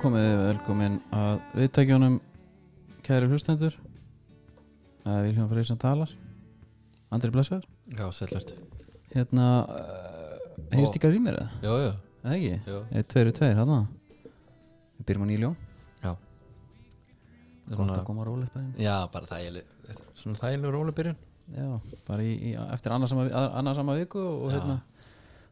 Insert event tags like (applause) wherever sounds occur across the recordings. komið þið velkomin að viðtækjónum kæri hlustendur að Viljón Freyr sem talar Andri Blessaður Já, selvert hérna, uh, heyrst ykkar í mér eða? Já, já, Eða ekki? já Eða tveir og tveir, þarna Við byrjum á nýljón, gott að Svona, koma rólegt bara inn Já, bara þægileg þetta er Svona þægileg rólubyrjun Já, bara í, í, eftir annarsama, annarsama viku og Já. hérna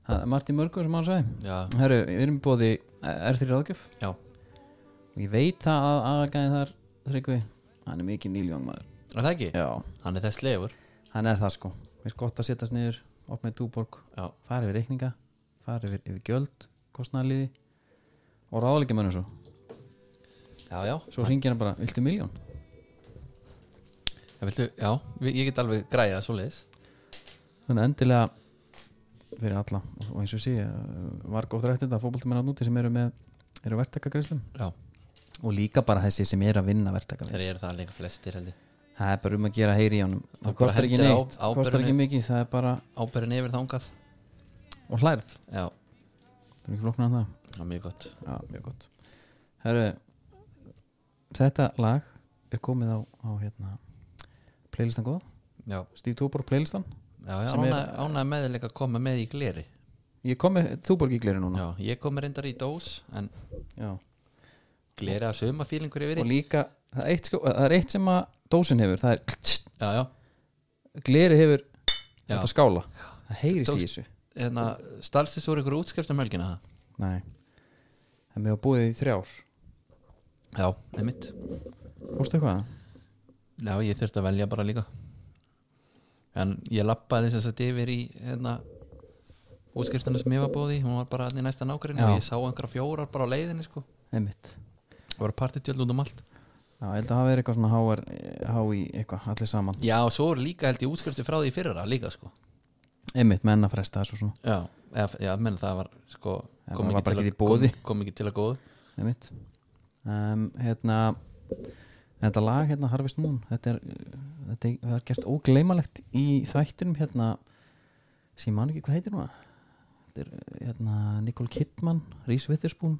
það er margt í mörgu sem hann sagði Já, Herru, við erum bóði R3 ráðgjöf Já. og ég veit það að aðgæðin þar Tryggvi, hann er mikið nýljón maður er það ekki? Já, Hann er þess lefur hann er það sko við erum gott að setjast niður, upp með túborg Já. fara yfir reikninga, fara yfir, yfir gjöld kostnæliði og ráðleika mönnum svo, Já, já, svo ringir hann bara viltu miljón? já, viltu, já vi- ég get alveg græða svoleiðis Þannig að endilega fyrir alla og og eins og sé, eh, var góð rættið að fótboltamenn að núti sem eru með eru verktakagreislum Já, og líka bara þessi sem er að vinna verktakagreislum þeir eru það líka flestir heldur það er bara um að gera heyri í honum Það það kostar bara ekki hendir á- neitt, kostar ábyrgðinni. ekki mikið það er bara, Ábyrðin yfir þangað og hlærð Já, það er ekki flóknar en það já, mjög gott Já, mjög gott Herru, þetta lag er komið á, á hérna, playlistan góð Já, Steve Túborg playlistan já, já Sem er- ánæg, ánæg með þig líka að koma með í gleri Ég kom með Túborg í gleri núna Já, ég kom reyndar í dós En Já. gleri að suma fílingur yfir Og í líka, það er, eitt, sko, það er eitt sem að dósin hefur Það er, Já, já, gleri hefur Já. Þetta skála Það heyrist Tókst- í þessu hérna, stalst þess úr ykkur útskrift um helgina það? Nei Það með að búið í þrjár Já, einmitt Fórstu eitthvað? Já, ég þurfti að velja bara líka En ég lappaði þess að yfir í hérna, útskriftuna sem ég var búið í hún var bara allir næsta nákvæmni Já. og ég sá einhverja fjórar bara á leiðinni sko Einmitt Það var partitjöld út um allt Já, ég held að það verið eitthvað svona háar Há í eitthvað, allir saman Já, og svo er líka held ég útskrifti frá því fyrir það líka sko Einmitt, menna fresta þessu svona Já, eða, já menn það var sko Já, kom það var ekki, bara til ekki að, í boði. kom, kom ekki til að góðu einmitt um, hérna þetta lag hérna Harvest Moon þetta er, uh, þetta er, það er gert ógleymalegt í þættunum hérna sem ég man ekki hvað heitir núna þetta er uh, hérna Nicole Kidman Reese Witherspoon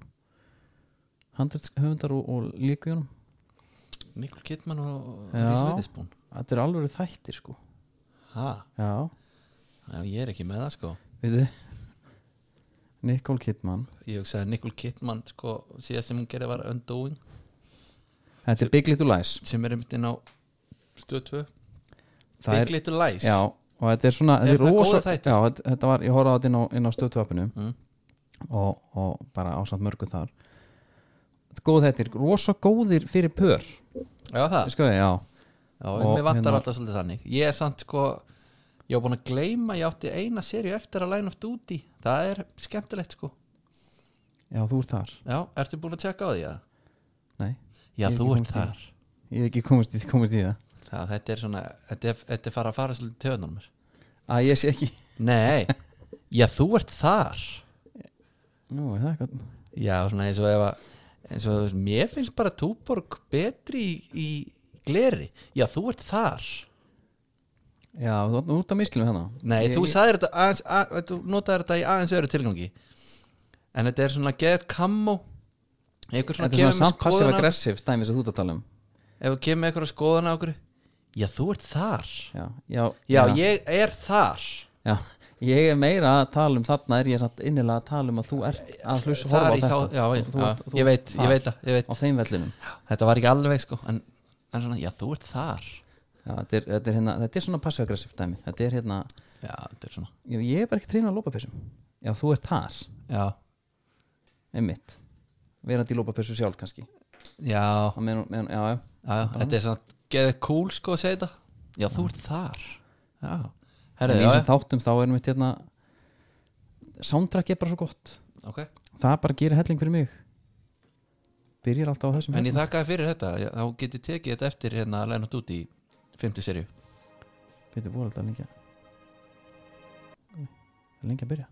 handrætshöfundar og, og líkujónum Nikol Kittmann og Já. Rís Veitisbún þetta er alveg þættir sko Ha, já, já, ég er ekki með það sko við (laughs) Nicole Kidman Ég hugsaði Nikol Kittmann sko síðast sem hún gerði var Undoing þetta er Big Little Lies sem er einmitt inn á stöð 2 það Big er, Little Lies já, og þetta er svona Er þetta það góður rosa- þættir? já, þetta, þetta var, ég horfði á þetta inn á, inn á stöðtöfapinu mm. og, og bara ásamt mörgu þar góð þetta er rosa góðir fyrir pör Já það, sko, já, já, og mér vantar hérna- alltaf svolítið þannig Ég er samt sko Ég var búin að gleyma, ég átti eina serju eftir að Line of Duty Það er skemmtilegt sko já, þú ert þar Já, ertu búin að tjekka á því að Nei, Já, Ég er þú ekki kominn ert þar ég hef ekki komist í, komist í það það, Þetta er svona, þetta er, þetta er fara að fara svolítið töðunar mér að ég sé ekki Nei, (laughs) já þú ert þar Nú, er það eitthvað Já, svona eins og ef að eins og, Mér finnst bara Túborg betri í, í gleri Já, þú ert þar Já, þú þú ert að miskilum hennar Nei, hérna. ég, þú ég- sagðir þetta aðeins, að, þú notaðir þetta í aðeins öðru tilgangi en þetta er svona get kammo einhver svona Þetta er kemur svona með samt passive skoðan á- aggressive dæmi sem þú ert að tala um ef þú kemur með einhverja skoðan á okkur já, þú ert þar já, Já, já, ég er þar já, ég er meira að tala um þarna er ég samt innilega að tala um að þú ert að hlusta og þar horfa á í þá, þetta já, já, Þú- þú- þú ég veit, ert ég þar veit það ég á veit. þeim vellinum þetta var ekki alveg sko en, en svona, já, þú ert þar já, þetta, er, þetta, er hérna, þetta er svona passive aggressive dæmi þetta er hérna já, þetta er svona Já, ég er bara ekki trýna á lópapessum Já, þú ert þar, já, einmitt Verandi í lópapessu sjálf kannski já, Á meðan- meðan- Já, já, já þetta er svona get cool sko að segja þetta já, þú ert þar já, herri, en í já, þessum þáttum þá erum við hérna Soundtrack er bara svo gott já, ok Það bara gerir helling fyrir mig Byrjar alltaf á þessum En ég hérna. þakkaði fyrir þetta, ég- þá getið tekið þetta eftir hérna að læna út í 50 serju hérna. Byrju, voru alltaf lengi að- Það er lengi að byrja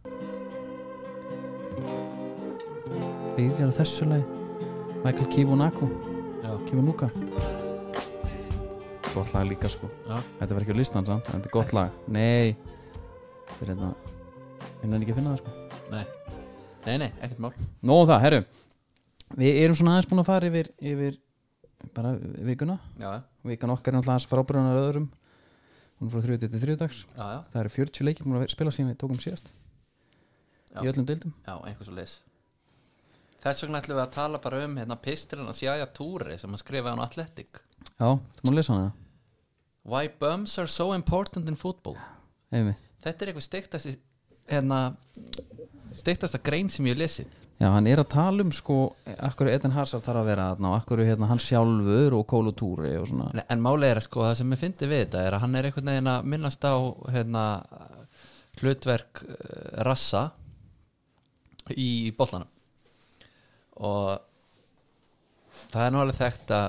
Byrjar á þessu leið Michael Kivunaku Já, Kivunuka Gott lag líka sko já, Þetta var ekki á listan samt, en þetta er gott lag Nei Þetta er hérna Ég nefnir ekki að finna það sko nei Nei, nei, ekkert mál Nóðum það, herru Við erum svona aðeins búin að fara yfir, yfir bara vikuna já, já, vikan okkar er náttúrulega aðeins frábærunar öðrum hún er frá 30 til 3 dags já, já, það eru 40 leikir múin að spila síðan við tókum síðast Já. í öllum deildum já einhvers og leis þess vegna ætlum við að tala bara um hérna pisturinn að Sjaja Túri sem að skrifa hann Athletic Já, þú múin að lesa hana Why bums are so important in football Einmi. þetta er eitthvað steiktast hérna steiktasta grein sem ég hef lesið Já, hann er að tala um sko akkur Eden Hazard þarf að vera þarna og akkur hérna hann sjálfur og Kolo Túri og svona en, en máli er að sko það sem ég fyndi við þetta er að hann er einhvern veginn að minnast á hérna hlutverk eh, rassa í bollanum og það er nú alveg þekkt að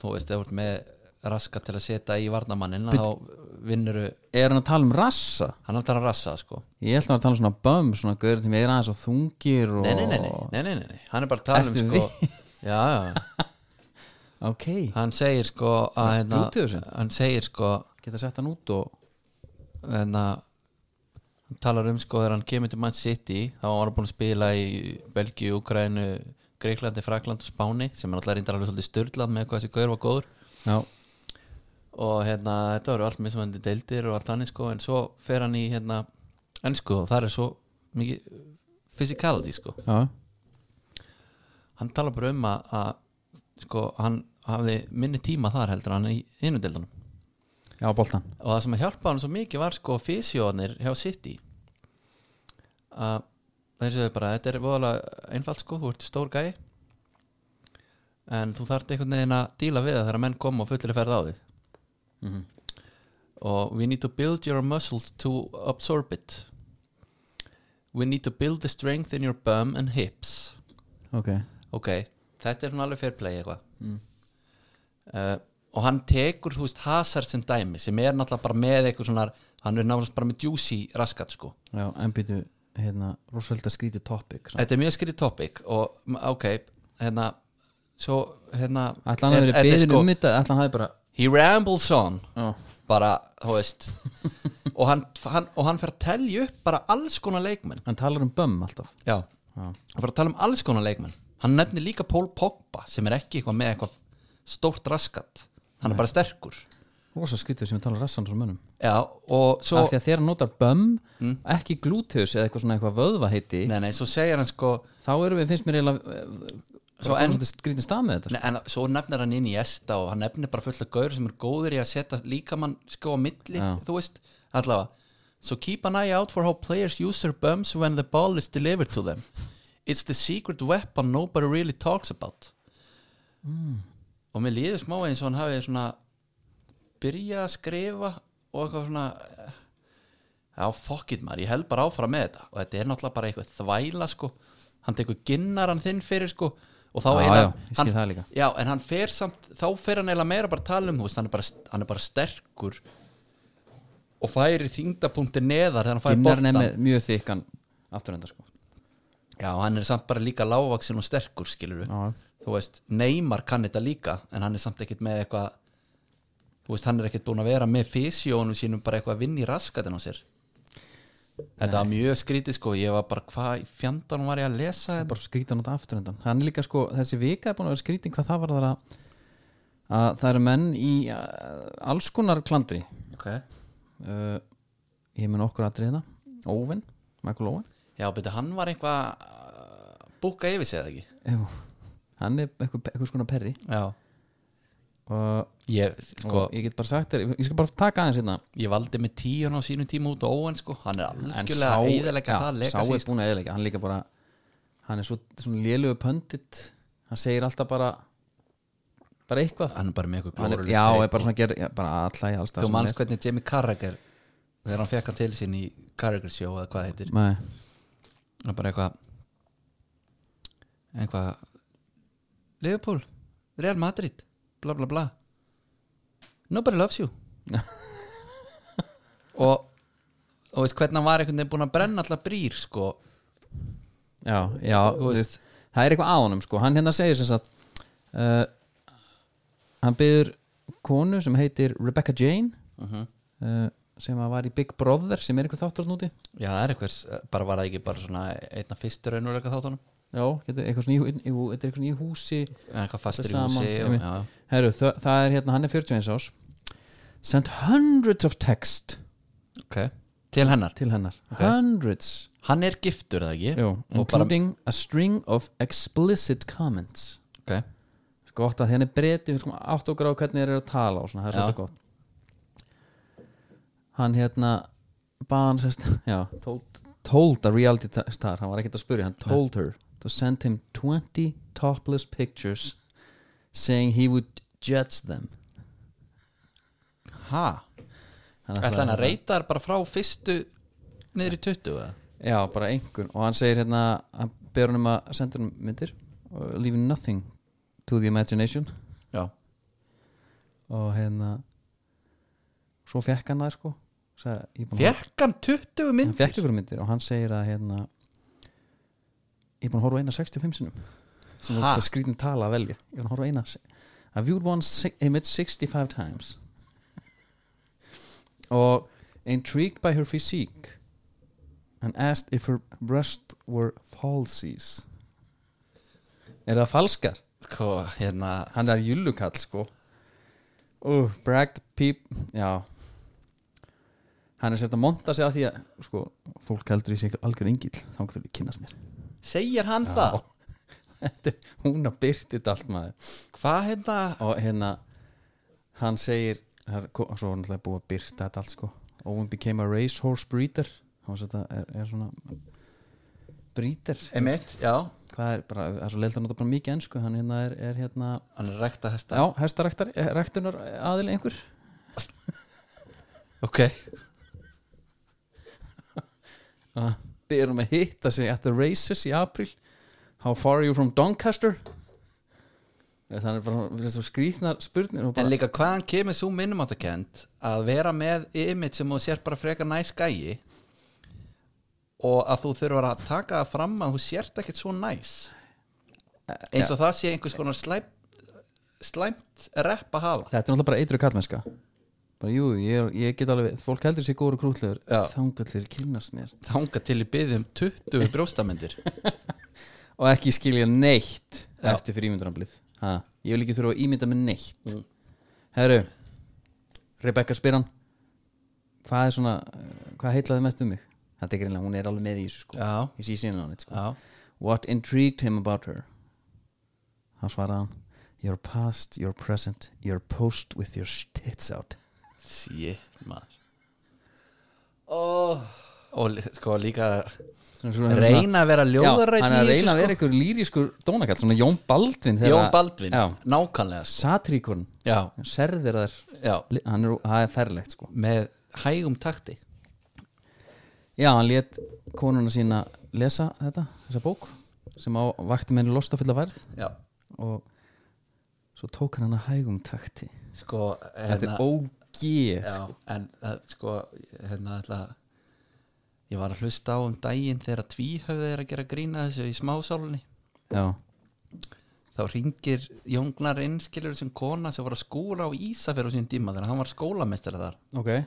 þú veist, ef þú ert með raska til að setja í varnamannin þá vinnuru, Er hann að tala um rassa? hann er alltaf að rassa sko Ég held að hann var að tala um svona bömm svona gauður sem er aðeins og þungir og... Nei, nei, nei, nei, nei, nei, nei, nei. hann er bara að tala um Ertu sko Já, já, Ok, hann segir sko að hérna, Flútu þessu. hann segir sko geta sett hann út og hérna, hann talar um sko þegar hann kemur til Man City þá var hann búin að spila í Belgíu, Ukraínu Greiklandi, Fraklandi og Spáni sem er alltaf reyndar alveg svolítið styrlað með hvað þessi gaur var góður Já, og hérna, þetta voru allt mismandi deildir og allt annir sko, en svo fer hann í hérna, ennsku og það er svo mikið physicality sko já, hann tala bara um að, að sko, hann hafði minni tíma þar heldur en hann í innudeldunum já, boltan og það sem að hjálpa hann svo mikið var sko fysjóðanir hjá City að þeir séu bara þetta er voðalega einfalt sko, þú ert stór gæi en þú þarft einhvern veginn að díla við það þegar menn koma og fullir að ferða á þig Mhm. og we need to build your muscles to absorb it we need to build the strength in your bum and hips Ok, ok, þetta er svona alveg fair play eitthvað Mm. uh, og hann tekur, þú veist, Hazard sem dæmi sem er náttúrulega bara með eitthvað svona hann er náttúrulega bara með juicy raskat sko já, en býtu hérna, rosalega skrítið topic samt. þetta er mjög skrið topic og m- ok, hérna svo, hérna Ætla hann að vera er- þetta er beðin um þetta Ætla hann hafi bara he rambles on já. bara, þú (laughs) veist og, hann, hann, og hann fer að telja upp bara alls konar leikmenn Hann talar um bömm alltaf já, Já, hann fer að tala um alls konar leikmenn hann nefnir líka Paul Pogba sem er ekki eitthvað með eitthvað stórt raskat hann er bara sterkur rosalega skrítið sem við tala um rassan frá mönnum Já, og svo Mm. Af því að þegar hann notar bömm ekki glúteus eða eitthvað svona eitthvað vöðva heiti Nei, nei, svo segir hann sko þá erum við, finnst mér eiginlega eh, Svo svo en- enn skrítið stað með þetta sko. nei, En svo nefnir hann inn í esta og hann nefnir bara fullt af gaur sem er góður í að setja líkamann sko á milli, Já. þú veist Allavega So keep an eye out for how players use their bums when the ball is delivered to them It's the secret weapon nobody really talks about Hmm. Og mér líður smá eins og hann hafi svona byrjað að skrifa og eitthvað svona eh, Já, fuck it maður, ég held bara áfram með þetta og þetta er náttúrulega bara eitthvað þvæla sko hann tekur ginnaran þinn fyrir sko og þá Já, já, eiginlega- ég skil hann, það líka. Já, en hann fer samt, þá fer hann eiginlega meira bara að tala um, þú veist, hann er bara, hann er bara sterkur og færi þingdapunkti neðar þegar hann færi Ginnar boltan nefnir mjög þykkan afturenda sko Já, hann er samt bara líka lágvaksin og sterkur skilur við, Já, þú veist, Neymar kann þetta líka, en hann er samt ekkit með eitthvað þú veist, hann er ekkit búin að vera með fysjónum sínum bara eitthvað að vinna í raskatin á sér Þetta var mjög skrítið sko, ég var bara hvað í fjandanum var ég að lesa þetta bara skrítan út afturendan hann er líka sko, þessi vika er búin að vera skrítin hvað það var þar að að það eru menn í uh, alls konar klandri okay. uh, ég mun okkur atriðina Óvin, Michael Óvin Já, betur, hann var eitthvað að búka yfir sig eða ekki Jú, hann er eitthvað, eitthvað skona perri Já, og, ég, sko, og ég get bara sagt þér, ég skal bara taka aðeins hérna ég valdi með tíun á sínu tíma út á óen sko, hann er en algjörlega sá, eðalega það sá leika er sig sko. búin að eðilega hann líka bara, hann er svo, svona lélugu pöndit hann segir alltaf bara bara eitthvað hann er bara með eitthvað hann er, glórulist já, er bara svona að gera, já, bara alla í allstað þú manns hvernig Jamie Carragher þegar hann fekk hann til sín í Carragher sjó eða hvað heitir, Nei, hann er bara eitthvað eitthvað Liverpool, Real Madrid bla bla bla nobody loves you og og veist hvernig hann var einhvern veginn búin að brenna alltaf brýr sko, já, já þú veist það er eitthvað á honum sko, hann hérna segir sem sagt uh, hann byður konu sem heitir Rebecca Jane Mhm. uh, sem að var í Big Brother sem er eitthvað þáttur þarna úti Já, það er eitthvers, bara var það ekki bara svona einna fyrstur raunveruleika þáttunum já, getur, eitthvað svona í, hú- jú, þetta er eitthvað svona í húsi Eða eitthvað fastur í sama, húsi og, einmitt. já, Heru, það, það er hérna, hann er 41 ás sent hundreds of text ok til hennar, til hennar, Ok. hundreds hann er giftur eða ekki Jú, og bara, including a string of explicit comments ok, Sko, gott að henni breyti við skulum átt og gráð hvernig þeir eru að tala og svona, það er Já. svolítið gott hann hérna baðan sérst, (laughs) já told, told a reality ta- star, hann var ekkert að spyrja hann told her to send him 20 topless pictures saying he would judge them ha Hann ætla hann að hérna- reyta þær bara frá fyrstu niður í 20 eða já, bara einhvern, og hann segir hérna hann ber hann um að senda hann myndir og leaving nothing to the imagination já, og hérna svo fekk hann það sko Sagði, ég er búinn að- fekk hann 20 hann fekk myndir ykkur myndir og hann segir að hérna ég er búin að horfa á eina 65 sinum sem Ha? er skrítin tala að velja ég er búin að horfa á eina I've viewed one si- image 65 times og intrigued by her physique and asked if her breasts were falsies er það falskar? sko, hérna, hann er jullukall sko uh, bragged peep já hann er sérst að monta sig að því að sko, fólk heldur í sig einhver algjör engil þá getur við kynnast mér segir hann það (laughs) Þetta er- hún að byrti þetta allt maður hvað hérna, og hérna hann segir hann- ko- svo var náttúrulega búið að byrta þetta allt sko Owen became a racehorse breeder hann var sérst að er, er svona breeder emitt, já hvað er bara, það er svo leilt að nota bara mikið ennsku hann hérna er, er hérna hann er rekta hesta já, hestarektar, rektunar aðil einhver ok, Við erum að hitta sig at the races í april How far are you from Doncaster? Þannig bara við erum svo skrýtnar spurnir og en bara, líka hvaðan kemur svo minnumáttakend að vera með image sem þú sér bara frekar næs gæi og að þú þurfur að taka það fram að þú sért ekkert svo næs eins og það sé einhvers konar slæmt, slæmt rep að hafa Þetta er náttúrulega bara eitru kallmennska Bara jú, ég, er- ég get alveg Fólk heldur sér góru krútlegur Já. Þangar þeir kynnast mér þanga til í byggðum 20 brjóstamindir Og ekki skilja neitt Já. eftir fyrir ímyndunarblið ha, Ég vil ekki þurfa að ímynda með neitt Mm. Herru Rebecca spyr hann Hvað er svona, hvað heitlaði mest um mig? Þetta er greinlega, hún er alveg með í þessu sko já, Ég sé síðan á hann sko. já, What intrigued him about her? Hann svaraði hann Your past, your present, your post with your tits out shit maður oh. og lí- sko líka Svona- svona- svona- reyna að vera Já, ljóðarætt hann er að reyna að vera einhver lýriskur dónakall svona Jón Baldvin þegar sko. Jón að- Baldvin, Já, nákvæmlega sko. satríkurinn, já, serðir þær já, li- hann er, það er ferlegt sko með hægum takti Já, hann lét konuna sína lesa þetta, þessa bók sem á vakti með henni losta fulla verð já, og svo tók hann hann að hægum takti sko Þetta hérna, er sko. ógið já, en eh, sko hérna ætla að- ég var að hlusta á um daginn þegar tvíhöfði er að gera grína þessu í smásálunni Já, þá ringir Jóngnar innskilur sem kona sem var að skúra á Ísafjörð á sín tíma þegar hann var skólamestari þar ok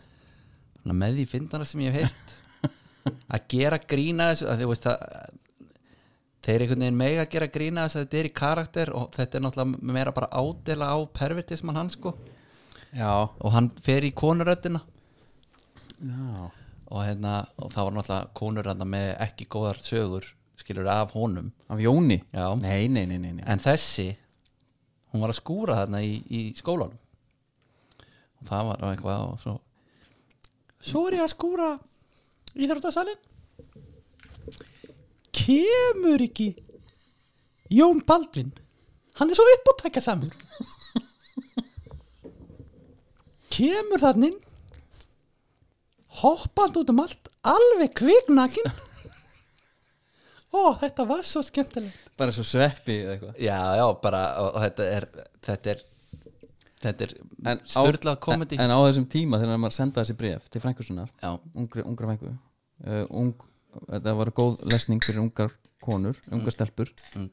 Þannig að með því fyndana sem ég hef heyrt að gera grína þessu að þú veist að þeir einhvern veginn mega að gera grína þessu að þetta er í karakter og þetta er náttúrulega meira bara ádela á pervertisman hann sko Já, og hann fer í konuröddina já. og, hérna, og það var náttúrulega konur hérna, með ekki góðar sögur skilur af honum Af Jóni? Já. Nei, nei, nei, nei, nei. en þessi hún var að skúra þarna í, í skólanum og það var eitthvað og svo svo er ég að skúra íþróttasalinn kemur ekki Jón Baldvin hann er svo uppáttækja samur kemur þannig hoppand út um allt alveg kviknakin ó þetta var svo skemmtilegt Bara svo sveppi eða eitthvað Já, já, bara og, og þetta er þetta er, þetta er En á- styrlað komedi En, en á þessum tíma þegar maður sendaði þessi bref til frænkursunar, Já, ungri, ungra frænku, uh, ung, það var góð lesning fyrir ungar konur, ungar stelpur, Mm.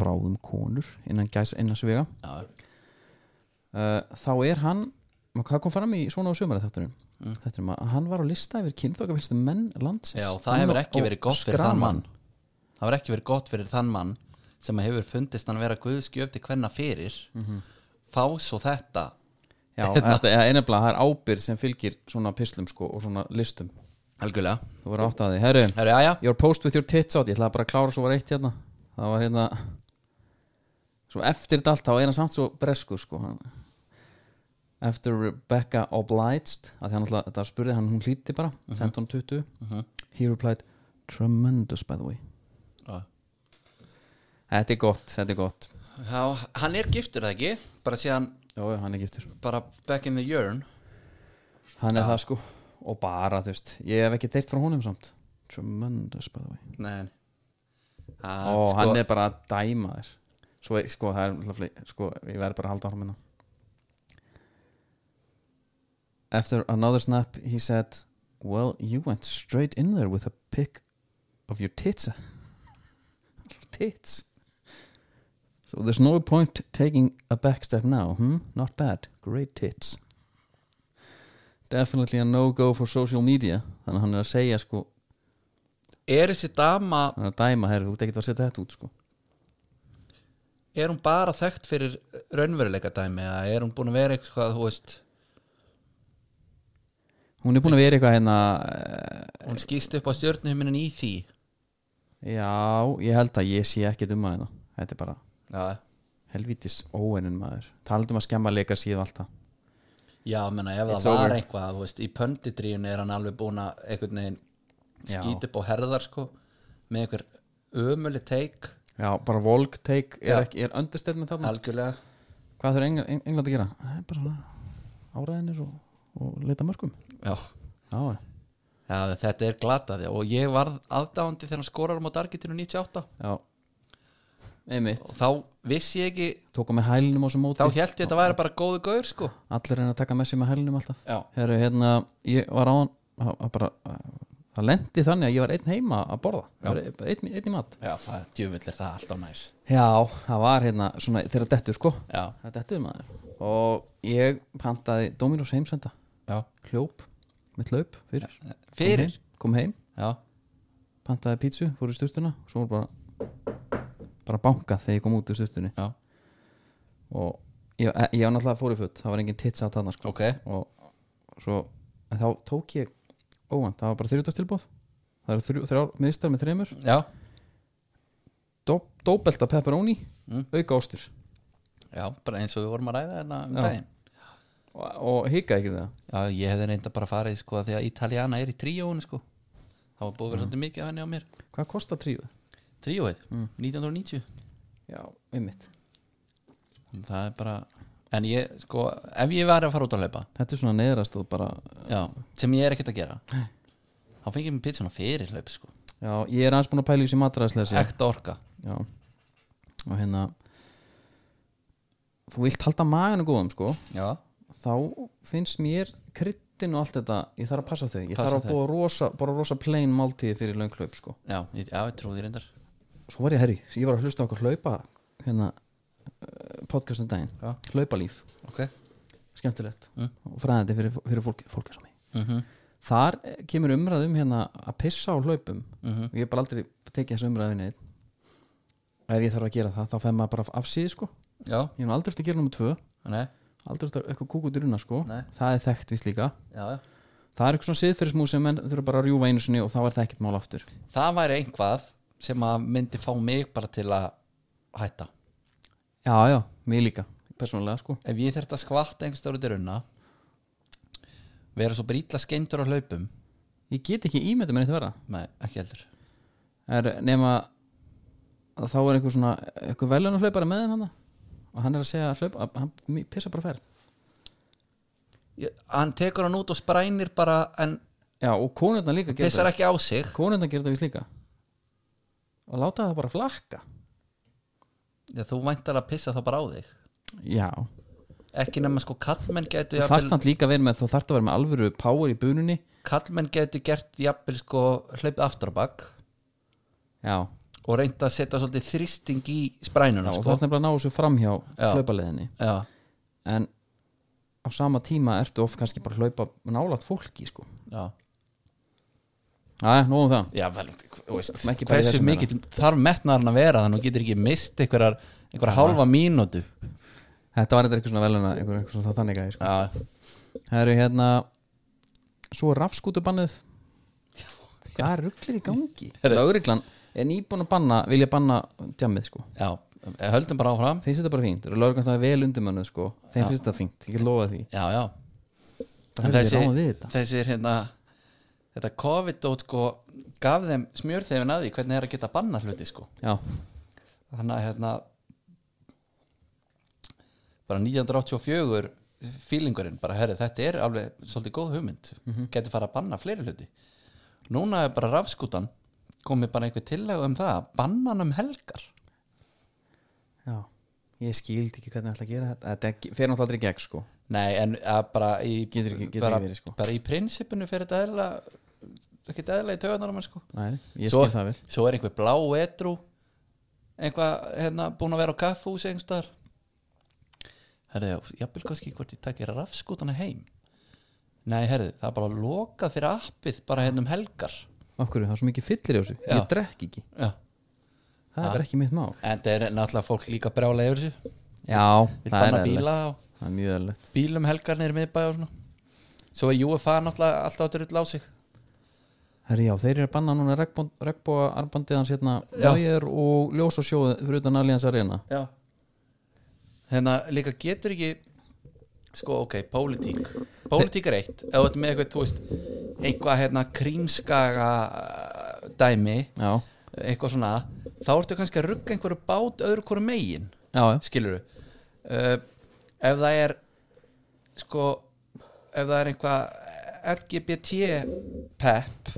bráðum konur innan gæs innan svega. já, Uh, þá er hann, og hvað kom fram í svona á sömara þátturinn? Mm. Þetta er maður, hann var á lista yfir kynþokkafylstu menn landsins. já, það hefur ekki verið gott fyrir þann mann það var ekki verið gott fyrir þann mann sem hefur fundist hann vera guðskjöf til hvenna fyrir fá svo þetta Já, (laughs) þetta er nefnilega, það er ábyrð sem fylgir svona pislum sko og svona listum algjörlega Þú voru átt að því, herru Herru, já, já, Your post with your tits out, ég ætlaði bara að klára svo var eitt hérna Það var hérna Svo eftir þetta allt, þá er hann samt svo bresku sko hann. Eftir Rebecca obliged að því hann alltaf, þetta spurði hann, hún hlíti bara mm -hmm. 15.20 He replied Tremendous by the way Ah. Þetta er gott, þetta er gott já Hann er giftur það ekki bara síðan, Jó, já, hann er giftur bara back in the urn Hann er það sko Og bara, þú veist, ég hef ekki deitt frá honum samt Tremendous by the way Nei Ó, sko, hann er bara að dæma þér Svo, er- sko, það er náttúrulega fle- sko, ég verð bara að halda árum hérna After another snap he said Well, you went straight in there with a pic of your tits (laughs) Tits So there's no point taking a back step now, hmm? Not bad, great tits Definitely a no-go for social media Þannig að hann er að segja sko er þessi dama Hann er að dæma, herri, þú ert ekkert að setja þetta út sko er hún bara þekkt fyrir raunveruleika dæmi eða er hún búin að vera eitthvað þú veist, Hún er búin að vera eitthvað hérna eh, hún skýst upp á stjörnuhiminin í því Já, ég held að ég sé ekkert um hana Þetta er bara já, helvítis óeinin maður Talandi um að skemma leika síðu alltaf já menna ef It's það var over. eitthvað þú veist, í pönditríun er hann alveg búin að einhvern veginn Já. skýt upp á herðar sko, með einhver ömuli teik Já, bara volk, take, er, Já. ekki, er understatement þarna algjörlega Hvað þurfa Engl Eng- England að gera? Það er bara svona áræðinir og, og leita mörgum já. Já, já. Já, þetta er glataði og ég varð aðdáandi þegar hann skorar á mót Argentinu 98 já Einmitt, og þá vissi ég ekki tókum með hælinum á svo móti þá held ég þetta væri bara góðu gaur sko Allir reyna að taka með sér með hælinum alltaf já, Herru, hérna, ég var á hann það var bara, eh, það lendi þannig að ég var einn heima að borða, Ég var bara einn, einn í mat já það er djöfullir það er alltaf næs Já, það var hérna svona þegar dettur sko já, það dettur maður og ég pantaði Dominos heimsenda já, hljóp, mitt laup fyrir fyrir kom heim, Mhm. já, pantaði pítsu, fór í sturtuna og svo var bara bara bankað þegar ég kom út úr sturtunni já, og ég, e, ég var náttúrulega fór í fót það var engin tits að þarna sko ok og svo, en þá tók ég óvænt, það var bara þrjóðastilbóð það eru þrjú, þrjár miðstar með þremur já, dó- dóbelta pepperoni, Mm. auka ostur já, bara eins og við vorum að ræða hérna um Já. daginn og, og hikaði ekki það já, ég hefði reynda bara farið sko af því að Italiana er í tríóinu sko þá var búið að vera svolítið mikið af henni á mér hvað kostar tríuð? tríóið, 1990 Já, einmitt það er bara, en ég sko ef ég var að fara út að hlaupa Þetta er svona neðrast og bara já, sem ég er ekkert að gera þá fengið ég mér pizzuna fyrir hlaup sko Já, ég er aðeins búin að pæla í þessi matræðislega ekta orka, Já Og hérna Þú vilt halda maganu góðum sko já, Þá finnst mér kryddin og allt þetta Ég þarf að passa þau Ég Passa þarf að búa rosa, bara rosa plain máltíði fyrir lönghlaup sko já, ég, já, ég trúði reyndar Svo var ég herri, ég var að hlusta á okkur hlaupa Hérna eh, podcastum daginn Já. Hlaupalíf, ok, skemmtilegt Og fræðandi fyrir, fyrir fólki, fólki sem ég mhm Þar eh, kemur umræðum hérna að pissa á hlaupum mhm. og ég hef bara aldrei tekið þessu umræðinni og ef ég þarf að gera það þá fæði maður bara af síði sko já, ég hef nú aldrei eftir að gera nummer tvö nei, aldrei eftir að eitthvað kúkut í runa sko Nei. það er þekkt víst líka já, já það er eitthvað svona siðferðismúð sem menn þurfa bara að rjúfa einu sinni og þá er það ekkert mál aftur það væri einhvað sem að myndi fá mig bara til að hætta já já, mig líka, persónulega sko ef ég þurft að skvatta einhvers stóru dyrunna vera svo brítla skeindur á hlaupum ég get ekki ímyndið mér eitt vera nei, ekki heldur er, nema að þá er eitthvað svona eitthvað veljónu hlaupari með þeim hann og hann er að segja að hlaupa, að hann mi- pissa bara ferð ég, hann tekur hann út og sprænir bara en já og konurna líka gera pissar ekki á sig konurna gera það víst líka og láta það bara flakka já, þú væntar að pissa þá bara á þig já, ekki nema sko kallmenn gætu þú jafnvel- þarft samt líka að vera með þú þarft að vera með alvöru power í bununni kallmenn gætu gert jafnvel sko hlaupið aftur á bakk já, og reynda að setja svolítið þrýsting í já sprænuna og sko. þú þarft nefnilega að ná þessu framhjá Já. hlaupaleðinni já, en á sama tíma ertu of kannski bara að hlaupa nálat fólki sko já Æ, nóg um það já, vel, þú veist, Ekki bara í hversu þessum mikið þarf metnaðurinn að vera þannig að þú getur ekki mist einhverjar einhverja hálfa mínútu Þetta var þetta eitthvað svona veluna einhver, einhver svona þannig að sko. já, Það eru hérna Svo rafskútubannið Hvað er rugglir í gangi? Lögreglan er nýbúin að banna Vilja banna djamið sko já, eh, höldum bara áfram Finnst þetta bara fínt? Eru Lögreglan það er vel undumönnuð sko Þeim finnst þetta fínt, ég get lofað því já, já, Það er þessi, ráð við þetta þessi er hérna þetta COVID-dót sko gaf þeim smjörþefin að því hvernig er að geta banna hluti sko Já, þannig að hérna bara 1984 feelingurinn bara herri þetta er alveg svolítið góð hugmynd mm Mhm. getur fara að banna fleiri hluti núna er bara rafskútan komið bara einhver tillega um það bannan um helgar já Ég skildi ekki hvernig ætla að gera þetta Þetta fer náttúrulega aldrei í gegn sko nei en að bara í Getur ekki- getur bara, ekki verið, sko. bara í prinsipinu fyrir þetta eðla ekki eðla í töðunar á mann sko Nei, ég Svo- skil það vel svo er einhver blá etru einhvað hérna búin að vera á kaffús einhverstaðar herðu, já, jafnvel kannski hvort ég takir rafskútana heim nei, herðu, það er bara lokað fyrir appið bara hérna um helgar Okkur, það er svo mikið fyllir í þessu Já. Ég drekk ekki, já. það er bara ekki mitt mál en það er náttúrulega fólk líka brjála yfir þessu Já, það vil er banna eðlilegt bíla og Það er mjög eðlilegt bílum helgar neyri miðbæ og svona svo er UFA náttúrulega alltaf drull á sig Herri, já, þeir eru að banna núna regnbóa armbandið hans hérna Já. Lóger og Ljós og sjóð fyrir utan Allianz Arena já hérna líka getur ekki sko ok, pólitík pólitík er eitt, ef þú ert með eitthvað þú veist, eitthvað hérna krímskaga uh, dæmi Já, eitthvað svona, þá ertu kannski að rugga einhverju bát öðru hverju megin já, já, skilur uh, ef það er sko ef það er einhvað LGBT pep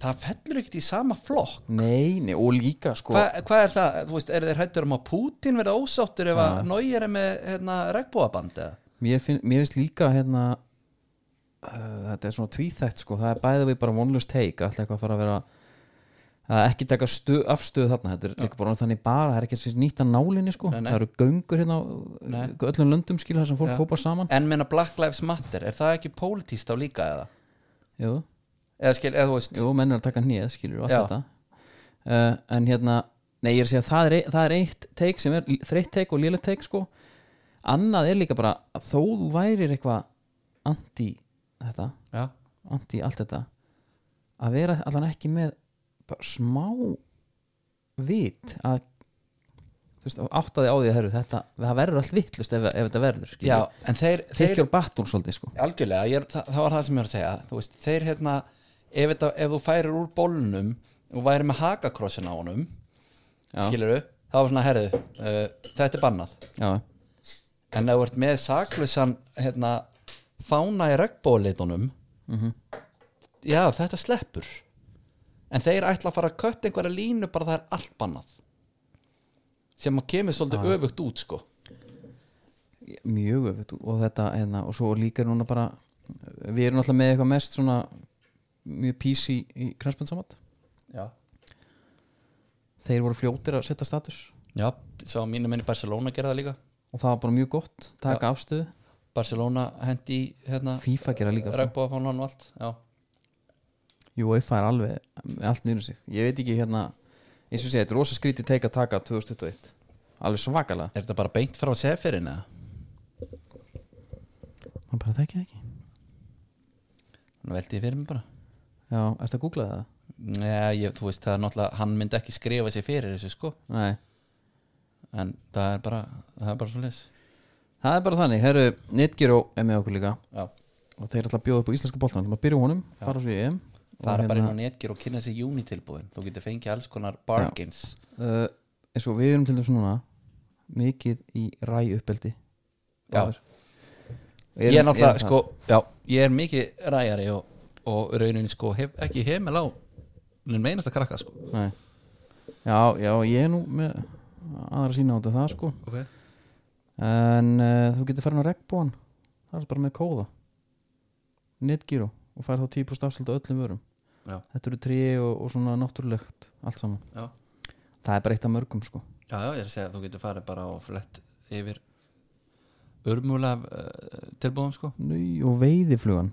það fellur ekkert í sama flokk nei, nei, og líka sko Hva, hvað er það, þú veist, er þeir hættur um að Putin verða ósáttur ef að Nói er með hérna, regnbúaband eða? mér, finn, mér finnst líka hérna uh, þetta er svona tvíþætt sko það er bæðið við bara vonlust teik alltaf eitthvað að fara að vera að ekki taka stu, afstöðu þarna þetta er líka bara orðið þannig bara, það er ekki eins og nýtt að nálinni sko Nei, nei. það eru göngur hérna á Nei. öllum löndum skilur þar sem fólk Já. hópar saman En meina Black Lives Matter, er það ekki pólitíst á líka eða? Jú. Eða skil, eða þú veist Jú, menn er að taka hnið, skilur og allt Já. þetta uh, En hérna, nei, ég er að segja það er, ei- það er eitt teik sem er þreytt teik og lélega teik, sko Annað er líka bara að þó þú værir eitthvað anti þetta, Já, anti allt þetta að vera allan ekki með bara smá vit að þú veist, áttaði á því að herru þetta, það verður allt vitlust ef, ef þetta verður já en þeir, þeir þeir... battle svolítið, sko algjörlega, ég, er- það, það var það sem ég var að segja þú veist, þeir hérna ef, þetta, ef þú færir úr bólnum og væri með hakakrossin á honum Já. skilur þú, það var svona herðu uh, þetta er bannað Já, en ef þú ert með saklausan hérna, fána í regnbólitunum Mhm. já, þetta sleppur en þeir ætla að fara að kött einhverja línu bara það er allt bannað sem að kemur svolítið öfugt út sko mjög öfut og þetta hérna, og svo líka núna bara við erum alltaf með eitthvað mest svona mjög pís í, í kransbundsamat já, þeir voru fljótir að setja status já svo mínu minni Barcelona gera það líka og það var bara mjög gott, taka afstöðu Barcelona hendi í, hérna, FIFA gera líka sko. það. regnbóðafánan og allt já. Jú, UEFA er alveg með allt nýrum sig, ég veit ekki hérna eins og segja, þetta er rosa skrítið teika taka 2021, alveg svakalega er þetta bara beint frá sefirinn eða? maður bara þekkja það ekki Nú veldi ég fyrir mig bara já, ertu að googla það? Nei, ég, þú veist, það er náttúrulega, hann myndi ekki skrifa sér fyrir þessu sko Nei, en það er bara, það er bara svo það er bara þannig herru, Nitgyró er með okkur líka já, og þeir er alltaf að bjóða upp á íslenska boltan þannig að byrja á honum, fara svo í EM og fara hérna- bara inn á netgir og kynna sér júnitilbúin þú getur fengið alls konar bargains uh, eins og við erum til dæmis núna mikið í ræ uppeldi Já. Báðir. ég er Erum- náttúrulega, erum sko, já ég er mikið ræjari og, og rauninni sko, hef ekki heimil á minn meinasta krakka sko það. Nei. já, já, ég er nú með aðra sína át af það sko okay. en uh, þú getur farin á regnbúan það er bara með kóða netgíru og fær þá 10% afslut á öllum vörum já, þetta eru trí og, og svona náttúrulegt allt saman, já. það er bara eitt af mörgum sko já, já, ég er að segja að þú getur farið bara og flett yfir örmulega uh, tilbúin sko Nú, og veiðiflugan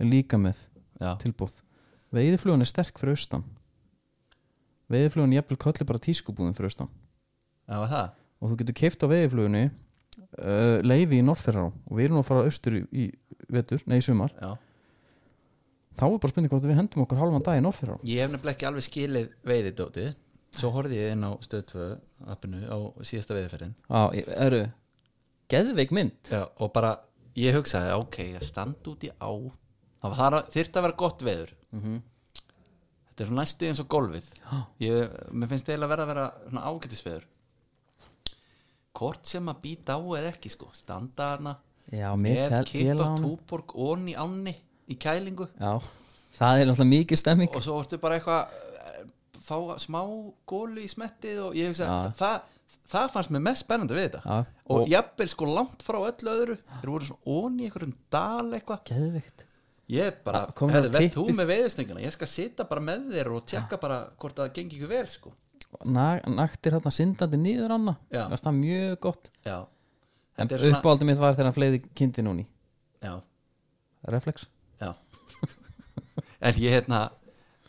er líka með já, tilbúð Veiðiflugan er sterk fyrir austan Veiðiflugan jafnvel kolli bara tískubúðum fyrir austan það var það og þú getur keift á veiðiflugunni uh, leifi í norðferðará og við erum nú að fara austur í, í vetur, nei í sumar Já. þá er bara spurning hvort við hendum okkur halvan dag í norðferðará Ég hef nefnilega ekki alveg skilið veiðidóti Svo horfði ég inn á stöð 2 appinu á síðasta veiðiferðin Já, ég- eru Geðveik mynd Já, og bara ég hugsaði ok, ég standa út í á það var þyrfti að vera gott veður þetta er svona næstu eins og golfið Já. ég, mér finnst eiginlega verða að vera svona ágætisveður hvort sem að býta á eða ekki sko, standa hana Já, með mér fel- kippa félaganum. túborg onni ánni í kælingu Já, það er náttúrulega mikið stemming og svo ertu bara eitthvað eh, fá smá gólu í smettið og ég hugsa, Já. það, það fannst mér mest spennandi við þetta Já, og, og- jafnvel sko langt frá öllu öðru þeir voru svona ón í einhverjum dal eitthvað Geðveikt ég bara, Já, komum á herri, verð þú tippið. með veiðustöngina ég skal sita bara með þér og tjekka bara hvort það gengi ekki vel sko Na- Naktir hérna syndandi niður ána Já. Það er mjög gott já, En þetta er svona uppáldið mitt var þegar hann fleiði kindi núni já, Reflex já en ég hérna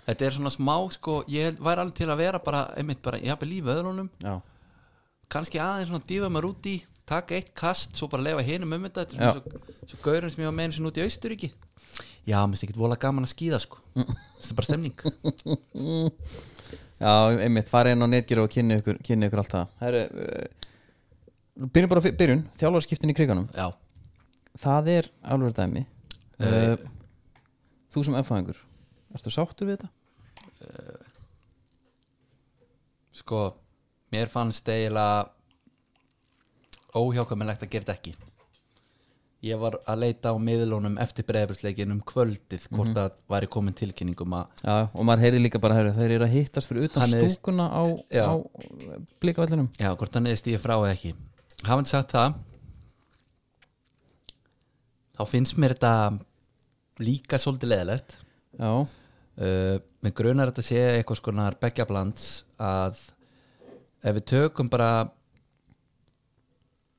þetta er svona smá sko ég væri alveg til að vera bara, einmitt bara ég hafa lífið öðrunum Já, kannski aðeins svona dýfa maður út í taka eitt kast, svo bara lefa hinum um þetta þetta er svona svo, svo gaurin sem ég var með einu sinni út í Austuríki já, mér finnst ekkert vola gaman að skýða sko þetta er bara stemning Já einmitt, farið inn á netgir og kynni ykkur, kynni ykkur allt það Herru, uh, Byrjum bara á fi- byrjun, þjálfarskiptin í kriganum já, Það er alveg dæmi Eh. uh, Þú sem erfæðingur Ertu sáttur við þetta? sko mér fannst eiginlega óhjákvæmilegt að gera þetta ekki ég var að leita á miðlunum eftir breyðabilsleikin um kvöldið hvort að væri komin tilkynningum að Já, og maður heyrði líka bara herru, þeir eru að hittast fyrir utan Hann er- stúkuna á, Já. á blikavellinum Já, hvort hann eða stíði frá eða ekki Hafandi sagt það Þá finnst mér þetta líka svolítið leðilegt Já, uh, Mér grunar að þetta sé eitthvað skonar beggja blands að ef við tökum bara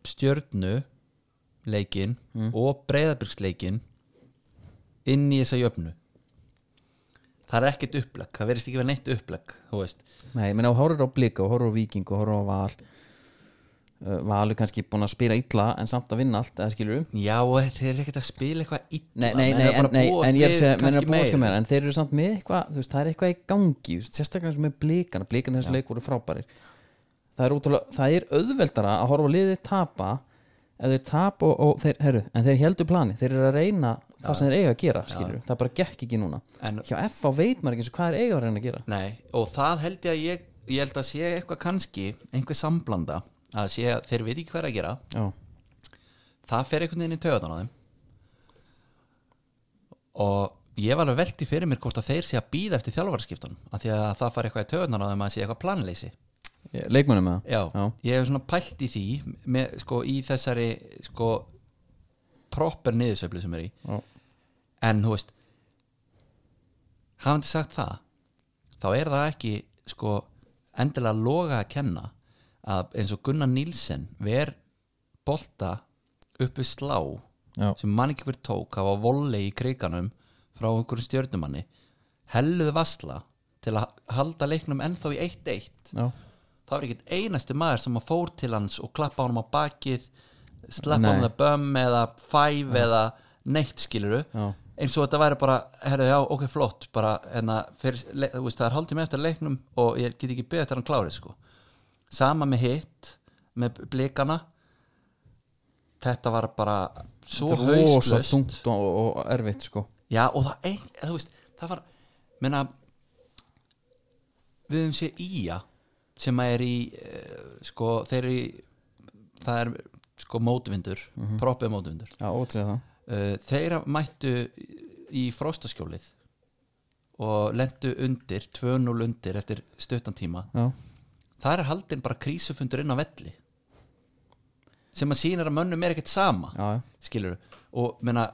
stjörnu leikin og breyðabyrgsleikin inn í þessa jöfnu Það er ekkert upplegg, það verðist ekki verið neitt upplegg, þú veist nei, menn á horfur á blika og horfur á viking og horfur á val uh, Valur kannski búin að spila illa en samt að vinna allt, eða skilur Já, og þeir eru ekkert að spila eitthvað illa Nei, nei, menn nei, eru en, bara að nei, búast en ég er við að segja, menn er að kannski búa sko meira. meira en þeir eru samt með eitthvað, þú veist, það er eitthvað í gangi þú veist, sérstaklega eins og með blikana, blikana þessu leik voru frábærir það er, útrúlega, það er auðveldara að horfa á liðið tapa ef þeir tapa og, og þeir, herru, en þeir heldur plani, þeir eru að reyna það sem þeir eiga að gera, skilur, það bara gekk ekki núna En- hjá F á veit maður ekki eins og hvað er eiga að reyna að gera Nei, og það held ég að ég ég held að sé eitthvað kannski einhver samblanda að sé að þeir veit ekki hvað er að gera Já, það fer einhvern veginn í töðan á þeim og ég var alveg velti fyrir mér hvort að þeir sé að býða eftir þjálfarskiptun af því að það fari eitthvað í töðan á þeim að sé eitthvað planleysi leikmönum með Já, Já. ég hef svona pælt í því með, sko, í þessari sko, proper niðursveiflu sem er í Já. en þú veist hafandi sagt það þá er það ekki sko, endilega loga að kenna að eins og Gunnar Nílsen ver bolta uppi slá Já. sem mann ekki verið tók hafa volley í kriganum frá einhverjum stjörnumanni helluð vasla til að halda leiknum ennþá í 1-1 Já. það var ekkert einasti maður sem að fór til hans og klappa honum á bakið slappa Nei. honum það bömm eða fæf eða neitt skiluru Já. eins og þetta væri bara, herru já, ok flott bara, en að fyrir, le- þú veist, það er haldið með eftir leiknum og ég get ekki beðið eftir hann klárið sko sama með hitt með blikana þetta var bara svo Þetta er rosa hauslust þungt og, og erfitt sko Já og það ein, þú veist, það var menna við höfum sé Ía sem að er í uh, sko þeir eru í það er sko mótvindur mm proppið mótvindur Já, ótrúið það uh, þeir mættu í frostaskjólið og lendu undir 2-0 undir eftir stuttan tíma Já, það er haldin bara krísufundur inn á velli sem að sýnir að mönnum er ekkert sama já, já. skilur og menna,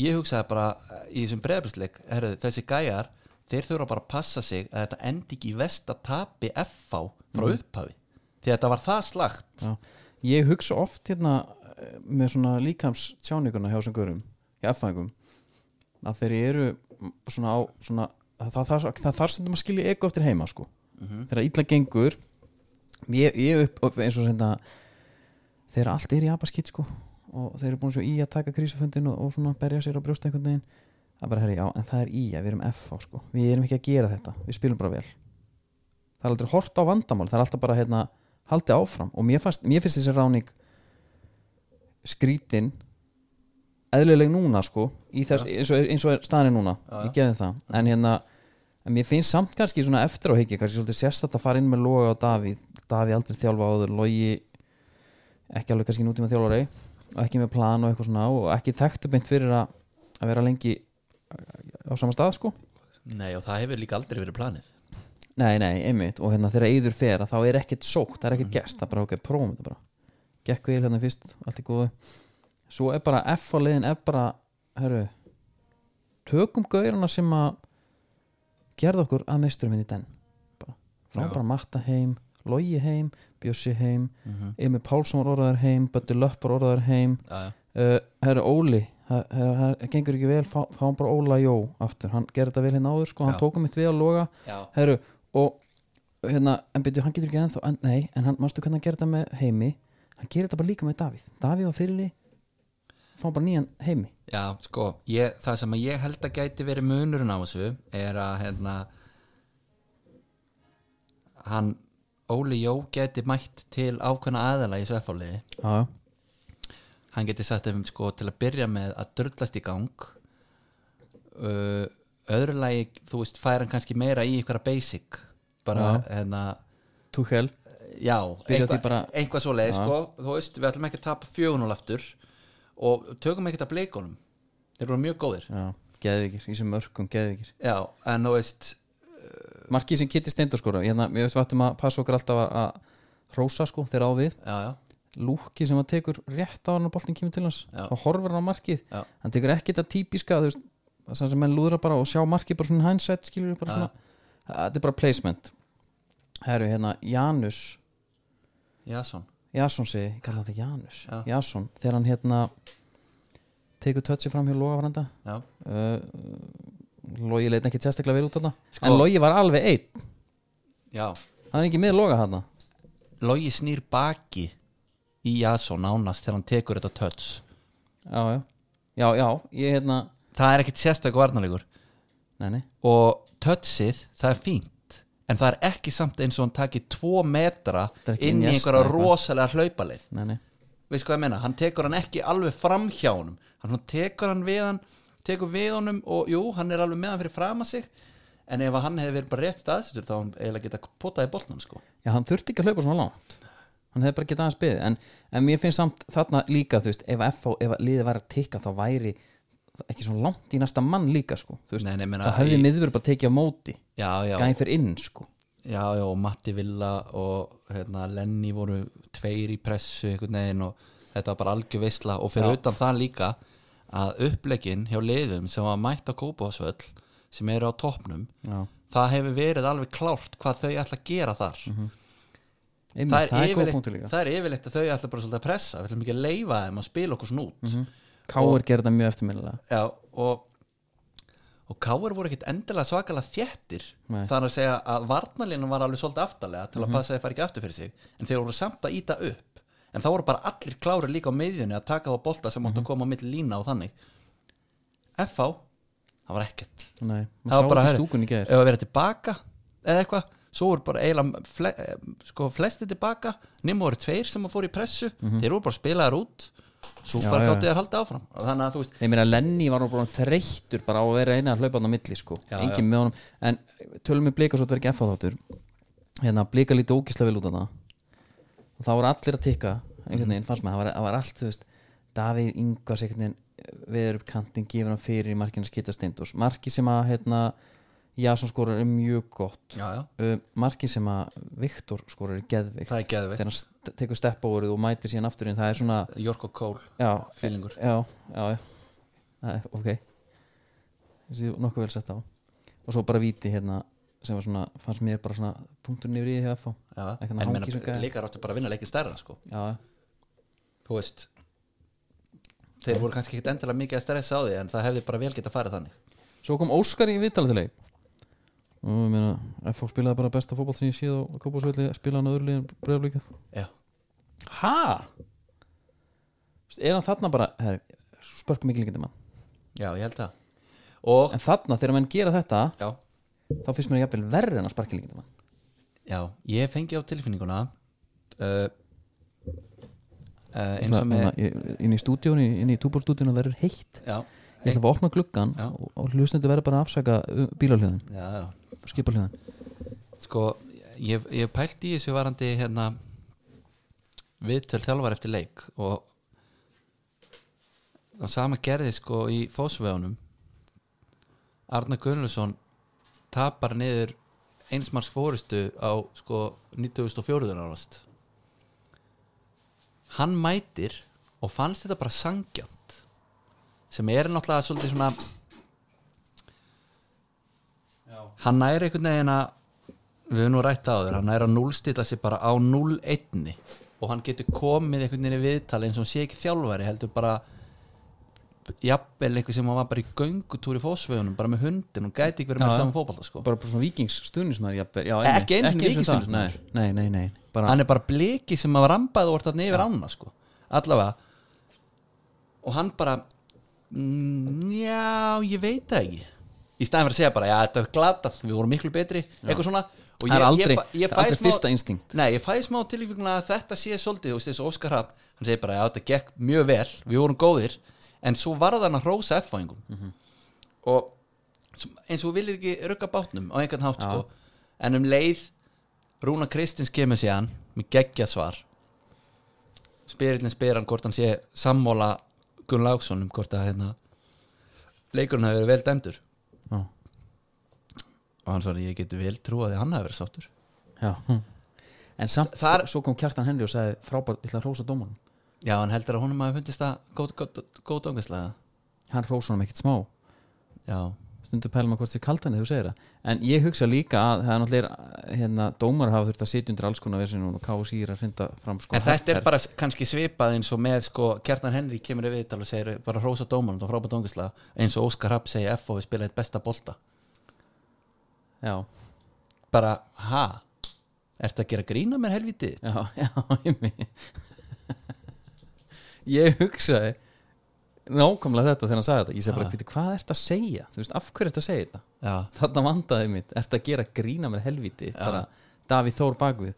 ég hugsaði bara eh, í þessum breyðabilsleik þessi gæjar, þeir þurfa bara að passa sig að þetta endi ekki í vest að tapi FH frá upphafi því að þetta var það slagt Já. Ég hugsa oft hérna eh, með svona líkams tjáninguna hjá sem görum, hjá erfæðingum að þeir eru mm, svona á svona það, það, það, það þarf stundum að skilja ego eftir heima sko. Mhm. þegar illa gengur ég, ég upp, upp eins og senda þegar allt er í abaskitt sko, og þeir eru búin svo í að taka krísafundin og, og svona berja sér á brjóst einhvern veginn það er bara, herri, já, en það er í að við erum F á sko. við erum ekki að gera þetta, við spilum bara vel það er aldrei hort á vandamál það er alltaf bara, hérna, haldið áfram og mér, fast, mér finnst þessi ráning skrítin eðlileg núna sko í þess, eins, og, eins og er staðan er núna Já, ég geði það en hérna en mér finnst samt kannski svona eftir á higgja kannski svolítið sérstætt að fara inn með Loga og Davíð Davíð aldrei þjálfa áður Logi ekki alveg kannski nútíma þjálfari og ekki með plan og eitthvað svona og ekki þekktu beint fyrir að, að vera lengi á sama stað sko Nei og það hefur líka aldrei verið planið Nei, nei, einmitt og hérna þegar eyður fer að þá er ekkert sótt, það er ekkert gert það er bara ok, prófum þetta bara gekk við hérna fyrst, allt í góðu svo er bara F á liðin er bara herru, tökum gaurana sem að gerða okkur að meisturum henni den bara, frá Já. bara matta heim logi heim, bjössi heim mm -hmm. Emil Pálsson var orðaður heim, Bötti Löppar orðaður heim Já, uh, herru Óli það það- það gengur ekki vel, fá, fáum bara Óla Jó aftur, hann gerði þetta vel hérna áður sko, hann Já. tókum mitt við að loga já, Herru, og hérna, en byrju, hann getur ekki ennþá en, Nei, en hann, manstu hvernig hann gerir þetta með heimi Hann gerir þetta bara líka með Davíð Davíð var fyrirli Fá bara nýjan heimi já sko ég, Það sem að ég held að gæti verið munurinn á þessu er að hérna hann Óli Jó gæti mætt til ákveðna aðala í svefáliði Já, hann geti sagt þeim sko til að byrja með að dörðlast í gang uh, öðru lagi þú veist fær hann kannski meira í einhverja basic bara hérna Tuchel já, Byrja því bara- einhvað svo leið sko, þú veist við ætlum ekki að tapa fjögunul aftur og tökum ekkert að bleikunum þeir eru mjög góðir Já, geðvikir, í sem örkum, geðvikir já, en þú veist Markið sem Kitty Steindur skora hérna, Við vatnum að passa okkur alltaf að, að Rósa sko, þeir á við já, já, Lúki sem að tekur rétt á hann og boltin kemur til hans Já. og horfur hann á markið Já. Hann tekur ekki þetta típiska þú veist, sem sem menn lúðra bara og sjá markið bara svona hindsight skilur bara Já. svona Þetta er bara placement Herru, hérna, Janus já, svona Jason segi, ég kalla þetta Janus Já. Jason, þegar hann hérna tekur tötsi fram hjá Logavaranda já, uh, Logi leit ekki sérstaklega vel út þarna Sko- en Logi var alveg einn, já, hann er ekki með Loga þarna logi snýr baki í Jason nánast þegar hann tekur þetta touch já, já, já, já, ég hérna það er ekkit sérstök varnalegur nei, nei, og touchið, það er fínt en það er ekki samt eins og hann takir tvo metra Þetta er ekki inn í Iniesta einhverja eitthvað. rosalega hlaupaleið nei, nei veist hvað ég meina, hann tekur hann ekki alveg fram hjá honum hann svona tekur hann við hann tekur við honum og jú, hann er alveg með hann fyrir fram að sig en ef hann hefði verið bara rétt staðsettur þá hann eiginlega geta potaði boltan sko. já, hann þurfti ekki að hlaupa svona langt hann hefði bara getað aðeins beðið en, en mér finnst samt þarna líka, þú veist ef, FH, ef liðið væri að tikka þá væri ekki svona langt í næsta mann líka sko. þú veist, Nei, nei, meina, það hefði í- miðvörð bara tekið á móti já, já, gæði fyrir inn, sko já, já, og Matti Villa og hérna, Lenny voru tveir í pressu einhvern veginn og þetta var bara algjör veisla og fyrir utan það líka að upplegin hjá liðum sem var mætt á Kópavásvöll sem eru á toppnum já. það hefur verið alveg klárt hvað þau ætla að gera þar Einmitt, Mhm. það, er góð yfirleitt, punktur líka það er yfirleitt að þau ætla bara svolítið að pressa við ætlum ekki að leifa þeim að spila okkur svona út Mhm. Káur gerir þetta mjög eftirminnilega Já, og og Káur voru ekkit endilega svakalega þjættir Nei. Mhm. þar að segja að varnalínu var alveg svolítið aftarlega til að passa að þeir fari ekki aftur fyrir sig en þeir voru samt að íta upp en þá voru bara allir klári líka á meðjunni að taka þá bolta sem Mhm. áttu að koma á milli lína og þannig FH, það var ekkert Nei, það maður var sá þetta bara í herri, stúkunni í gær ef að vera tilbaka eða eitthvað, svo voru bara eiginlega fle, eh, sko, flesti tilbaka nema voru tveir sem að fóru í pressu þeir voru bara spilaðar út svo Mhm. Já, bara já, gátti þeir haldið áfram og þannig að þú veist, Ég meina Lenny var nú bara þreyttur bara á að vera eina að hlaupa hann á milli sko Já, Engin með honum En tölum við blika svo þetta verið ekki F á þáttur Hérna blika lítið ógislega vel út hana Og það voru allir að tikka Mhm. einhvern veginn fannst maður það var, það var allt þú veist Davíð Ingvars einhvern veginn veður upp kantinn gefur hann fyrir í markinu skita steindos Marki sem að hérna Jason skorar er mjög gott já, já, uh, Marki sem að Viktor skorar er geðveikt það er geðveikt þegar hann st- tekur stepp árið og mætir síðan aftur en það er svona Jorko Kól, já, fílingur já, já, já. Það er, ok þessi nokkuð vel sett á og svo bara viti hérna sem var svona, fannst mér bara svona punktur niður í því að fá já. Ekki hann en hangi sem meina, gæði. leikar áttu bara að vinna leikin stærra sko. já, þú veist þeir voru kannski ekkit endilega mikið að stressa á því en það hefði bara vel geta farið þannig svo kom Óskar í viðtalatileg og ég meina, ef fólk spilaði bara besta fótball sem ég séð á kópásvelli, spilaði hann á öðru liðin breyðablíka Já. Hæ? Er hann þarna bara, herri, spörkum ekki líkandi mann Já, ég held það Og, En þarna, þegar menn gera þetta, já, þá finnst mér jafnvel verri en að sparka líkandi mann já Ég fengi á tilfinninguna uh, uh, Eins og með Inn hérna, í stúdíónu, inn í túbórstúdíónu verður heitt Já, Ég ætla að opna gluggan Já. og, og hlustendur verður bara að afsaka uh, bílalhjöðin, já, já skipalhjöðin Sko, ég, ég pælt í þessu varandi hérna viðtöl þjálfar eftir leik og og sama gerði sko í fósvegunum Arna Gunnlauson tapar niður einsmars fórustu á sko 1904 árast hann mætir og fannst þetta bara sangjant sem er náttúrulega svolítið svona hann næri einhvern veginn að við höfum nú rætt á þér, hann er að núlstilla sig bara á 0-1 og hann getur komið einhvern veginn í viðtal eins og hann sé ekki þjálfari heldur bara jafnvel einhver sem hann var bara í göngutúr í fósvegunum bara með hundin, hún gæti ekki verið Já, með já. saman fótbolta sko. Bara bara svona vikingsstunismar E, Ekki einu sinni Víkingsstuðningsmaður. Nei, nei, nei bara- hann er bara bliki sem að rambaði og orðið þarna yfir ána sko. allavega og hann bara "Mm, já, ég veit það ekki í staðin fyrir að segja bara, já, þetta er glatað við vorum miklu betri, eitthvað svona og Það er aldrei- fæ- ég það er fæ aldrei smá- fyrsta instinkt. nei, ég fæ smá tilvíkuna að þetta sé svolítið, þú veist, þessu Óskar Hafn hann segir bara, já, þetta gekk mjög vel, við vorum góðir en svo varð hann að hrósa F-fæðingum og sem- eins og þú vilir ekki rugga bátnum á einhvern hátt sko. en um leið Rúna Kristins kemur síðan með geggja svar spyrillin spyr hann hvort hann sé sammála Gunn Láksson um hvort að hérna, leikurinn hafi verið vel dæmdur Já. og hann svarði ég geti vel trúað að hann hafi verið sáttur Já hm. En samt, Þar- svo kom Kjartan Henry og sagði frábært, ég ætla að rósa dómanum já hann heldur að honum hafi fundist það góð, góð, góð dóngislega Hann rósa honum ekkert smá já, Stundu pælum að hvort þið kaldan eða þú segir það En ég hugsa líka að það er náttúrulega hérna, Dómar hafa þurft að sitja undir alls konar versin og káu sír að hrinda fram sko en þetta er herferð. bara s- kannski svipað eins og með sko Kjartan Henry kemur í viðtal og segir bara hrósa dómanum og frábæð dóngislega eins og Óskar Rapp segir F og við spila eitt besta bolta Já, bara, ha ertu að gera grína mér helviti já, (laughs) já, ég Ég hugsaði Nákvæmlega þetta þegar hann sagði þetta Ég segi bara, Ah. "Bíddu, hvað ertu að segja? Þú veist, af hverju ertu að segja þetta? já, þarna vandaði mitt, ertu að gera grína með helviti, bara Davíð Þór bakvið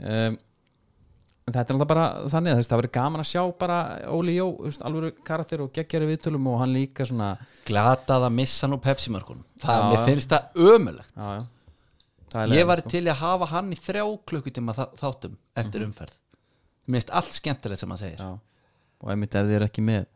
um, en þetta er alltaf bara þannig að þú veist, það verður gaman að sjá bara Óli Jó þú veist, alveg karakter og geggjari viðtölum og hann líka svona glatað að missa nú Pepsi-markunum það, Já, mér já. finnst það ömulegt já, já. Það er ég leiðinlegt, var sko. til í að hafa hann í þrjá klukkutíma þa- þáttum eftir Mhm. umferð mér finnst allt skemmtilegt sem hann segir já. og einmitt ef þið er ekki með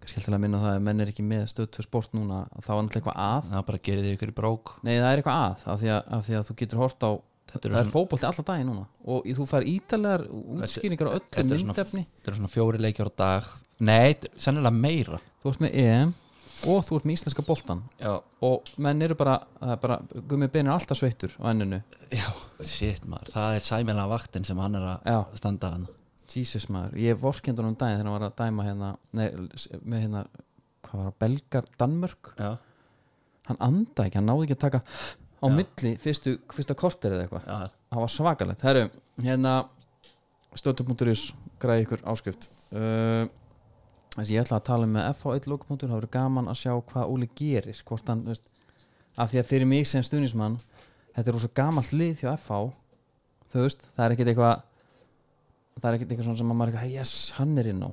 kannski alltaf að minna á það, ef menn er ekki með stöð tvö sport núna, þá er alltaf eitthvað að það bara gerir þig ykkur í brók nei, það er eitthvað að, af því að, af því að þú getur hort á Þetta eru það er svona- fótbolti alltaf daginn núna og þú fær ítalar útskýringar á öllu þetta er svona- myndefni það eru svona fjóri leikjar á dag nei, þetta er sennilega meira þú ert með EM og þú ert með íslenska boltan já, og menn eru bara, það er bara gummi bein er alltaf sveittur á enninu já, shit maður það er sæmilega vaktin sem hann er að Já. standa hann Jesus maður, ég vorkendur um daginn þegar hann var að dæma hérna nei, s- með hérna, hvað var það, Belgar Danmörk, já, hann andaði ekki hann náði ekki að taka á milli fyrstu, fyrsta korter eða eitthvað, já, það var svakalegt herru, hérna stötu.is, græði ykkur áskrift uh, þessi ég ætla að tala með FH1 lokupunktur, það verður gaman að sjá hvað Óli gerir, hvort hann þú veist, af því að fyrir mig sem stuðnismann þetta er rosa gamalt lið hjá FH þú veist, það er ekkit eitthvað það er ekkit eitthvað svona sem að maður er eitthvað, yes, hann er inn á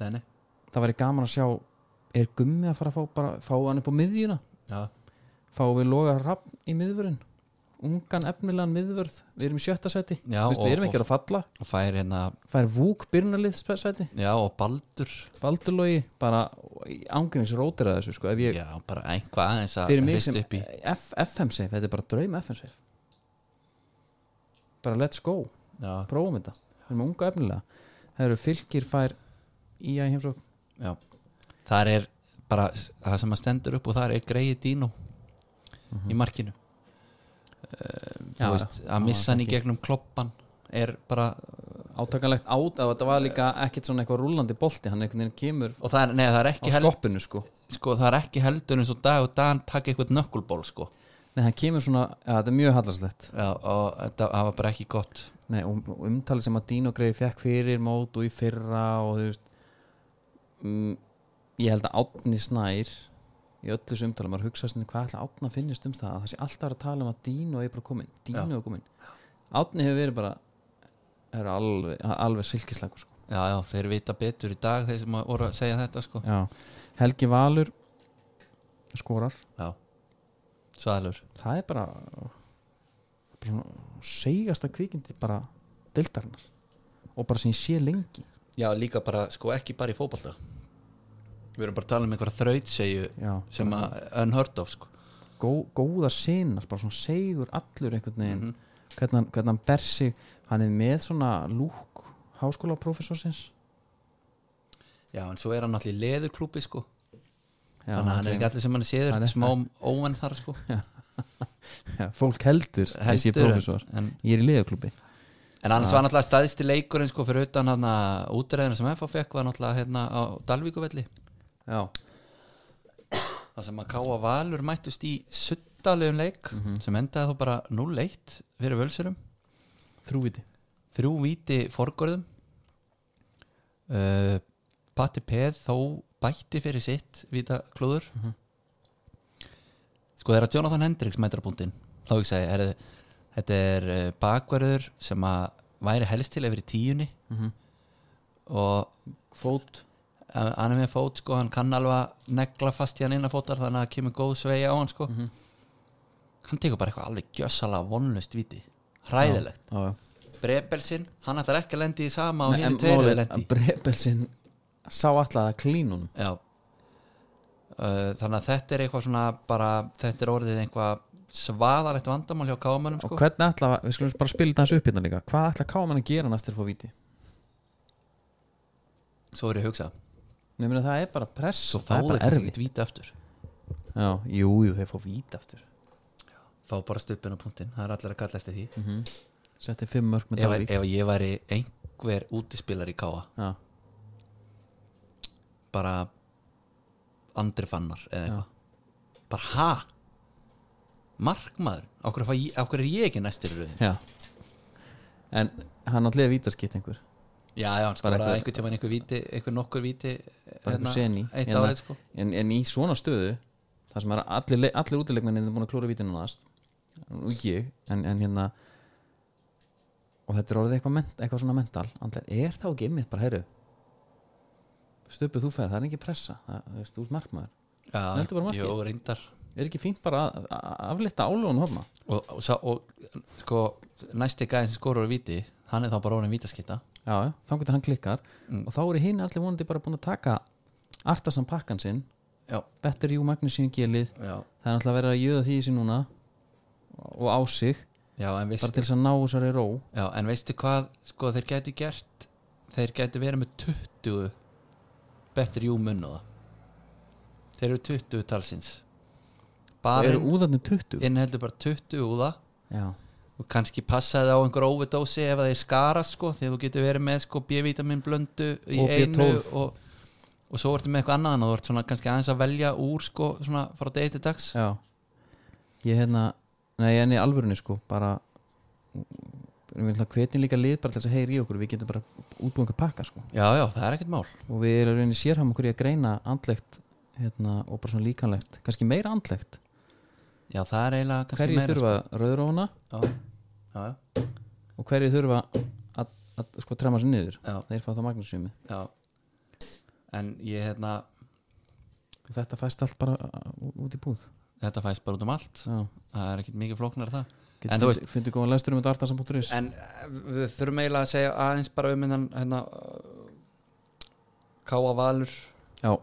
Nei, nei. það væri gaman að sjá er gummi að fara að fá, bara, fá hann upp á miðjuna já, fá við loga rafn í miðvörun ungan efnilegan miðvörð við erum í sjötta seti, Já, Vist, og- við erum ekki að falla og fær hérna fær vúk byrjunarlið seti já, og baldur Baldurlogi bara ángriðins rótir að þessu sko, ef ég, já, bara einhvað aðeins að fyrir mig hrista sem upp í F, FM safe, þetta er bara draum FM safe bara let's go já, prófum þetta, við erum unga efnilega það eru fylgir fær í að heimsók Já, þar er bara það sem að stendur upp og þar er greiði Dino í markinu uh, Mhm. Já, þú veist, já. að missa hann í gegnum kloppan er bara átakanlegt át að þetta var líka ekkert svona eitthvað rúlandi bolti, hann einhvern veginn kemur og það er, nei, það er á ekki held, skoppinu sko sko, það er ekki heldur eins og dag og dagann taka eitthvað nökkulból sko. Nei, það kemur svona, ja, þetta er mjög hallarslegt Já, og þetta það var bara ekki gott Nei, um, og umtalið sem að Dino Grey fekk fyrir mót og í fyrra og þú veist mm, ég held að Átni Snær í öllu þessu umtalið, maður hugsa sinni hvað ætla Átna að finnist um það, að það sé alltaf að tala um að Dino er bara komin, Dino Já. er komin Átni hefur verið bara er alveg, alveg silkislagur sko. Já, já, þeir vita betur í dag þeir sem að voru að segja þetta sko Já. Helgi Valur skorar, Svalur það er bara, bara svona segasta kvikindi bara deildarinnar og bara sem ég sé lengi Já, líka bara, sko, ekki bara í fótbolta Við erum bara að tala um einhverja þrautsegju Já, sem að unheard of sko gó, góða sinar bara svona segur allur einhvern veginn Mhm. hvernig, hann, hvernig hann ber sig hann er með svona lúk háskólaprofessorsins Já, en svo er hann allir í leðurklúpi sko Já, Þannig að hann er ekki allir sem hann séður Hann er- Þetta er smá óvenn þar (laughs) sko Já, fólk heldur, heldur ég sé Heldur en- professor en, ég er í liðaklubbi en annars var náttúrulega staðisti leikurinn sko fyrir utan hann að útræðina sem FF fekk var náttúrulega hérna á Dalvíkuvelli Já, Það sem að Káa Valur mættust í suttalegum leik sem endaði þá bara 0-1 fyrir völsurum þrúviti þrjú víti forgörðum uh, Patti Peð þó bætti fyrir sitt víta klúður sko þegar Jonathan Hendricks mætir á búndin þá ekki segi, er, þetta er uh, bakverður sem að væri helst til yfir í tíunni Mhm. og Fót eh, hann er með fót sko, hann kann alveg að negla fast í hann innafótar þannig að það kemur góð sveigja á hann sko hann tekur bara eitthvað alveg gjössalega vonlust víti, hræðilegt Já, já. Brebelsin, hann ætlar ekki að lendi í sama og Nei, hér en í tveir málið hefur er lendi að Brebelsin sá alltaf að klínunum Já uh, Þannig að þetta er eitthvað svona bara, þetta er orðið eitthvað svaðalegt vandamál hjá kámanum og sko. hvernig ætla, við skulum bara spila þessu upp hérna líka hvað ætla Káman að gera næst til að fá viti Svo er ég að hugsa, nefnir að það er bara press svo fá það er þeir bara kannski erfitt ekki víti aftur Já, jú, jú, þeir fá viti aftur Fá bara stuppin á punktinn, það er allir að kalla eftir því setti fimm mörg með ef, Dalvík ef ég væri einhver útispilar í káa Já, bara andri fannar eða já. eitthvað Bara ha? Markmaður? Á hverju, fæ ég- á hverju er ég ekki næstur í röðin? Já En hann átti að vítaskitt einhver Já, já, hann Bara skoraði einhver- einhver tíma einhver víti, einhver nokkur víti Bara einhver seni. eitt Hérna- árið sko en, en í svona stöðu þar sem er allir, le- allir útileikmennin er búin að klóra vítinu næst og ekki ég, en, en hérna og þetta er orðið eitthvað, ment, eitthvað svona mental andlega, er þá ekki ymmið bara heyru stöpuð þú ferð, það er ekki pressa það, þú veist, þú ert markmaður Já, Heldur bara markið. Jú, reyndar er ekki fínt bara að, að aflita álónu hófna og, og, sá- og sko, næsti gæðin sem skorur úr víti hann er þá bara orðin vítaskita já, já, þá getur hann klikkar Mm. og þá eru hinn allir vonandi bara búin að taka artasan pakkan sinn Já, better you magnesium gelið já, það er alltaf verið að jöða því í sig núna og á sig, já, en bara veistu til þess að ná þessari ró Já, en veistu hvað, sko, þeir gætu gert þeir gætu verið með 20 betri jú munna þeir eru 20 talsins og bara eru úðarnir 20 innheldur bara 20 úða já, og kannski passaði á einhver overdósi ef að þeir skarast sko þegar þú getur verið með sko B-vitamin blöndu í Og einu B12. og, og svo ertu með eitthvað annað þannig að þú ert svona kannski aðeins að velja úr sko svona frá degi til dags já ég hérna, nei en í alvörunni sko bara við ætla að hvetjum líka lið bara til þess að heyra í okkur við getum bara útbúið einhver pakka sko já já það er ekkert mál og við erum rauninni sérhæm okkur í að greina andlegt hérna, og bara svona líkanlegt kannski meira andlegt, já það er eiginlega kannski hverju meira þurfa rauðróna sko. já, já, og hverju þurfa að, að sko trema sér niður já, þeir fá það magnesiumi já en ég hérna og þetta fæst allt bara uh, út í búð þetta fæst bara út um allt já það er ekkert mikið flóknar það En þú Getur fundi, fundið góðan lestur um þetta artarsan.is en eh, við þurfum eiginlega að segja aðeins bara um hennan hérna Káa Valur Já,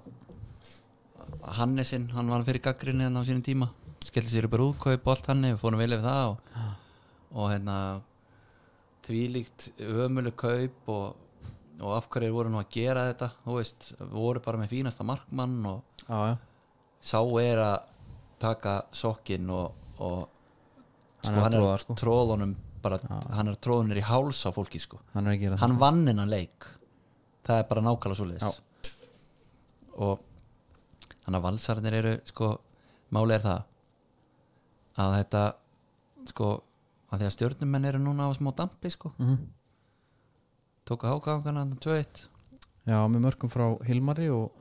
Hannesinn, hann var fyrir gaggrinni þannig á sínum tíma, skellti sér upp í rúðkaup og allt hann, við fórum vel yfir það og, og hérna þvílíkt ömulu kaup og, og af hverju þeir voru nú að gera þetta þú veist, voru bara með fínasta markmann og já, já sá er að taka sokkin og, og Hann er að tróða, sko. tróðunum bara, hann er tróðunir í háls á fólki sko Hann er að gera hann vann innan leik það er bara nákvæmlega svo leiðis og þannig að valsarnir eru sko, máli er það að þetta sko, að því að stjörnumenn eru núna á smá dampi sko, mm tóka hágangana 2-1 Já, með mörgum frá Hilmari og,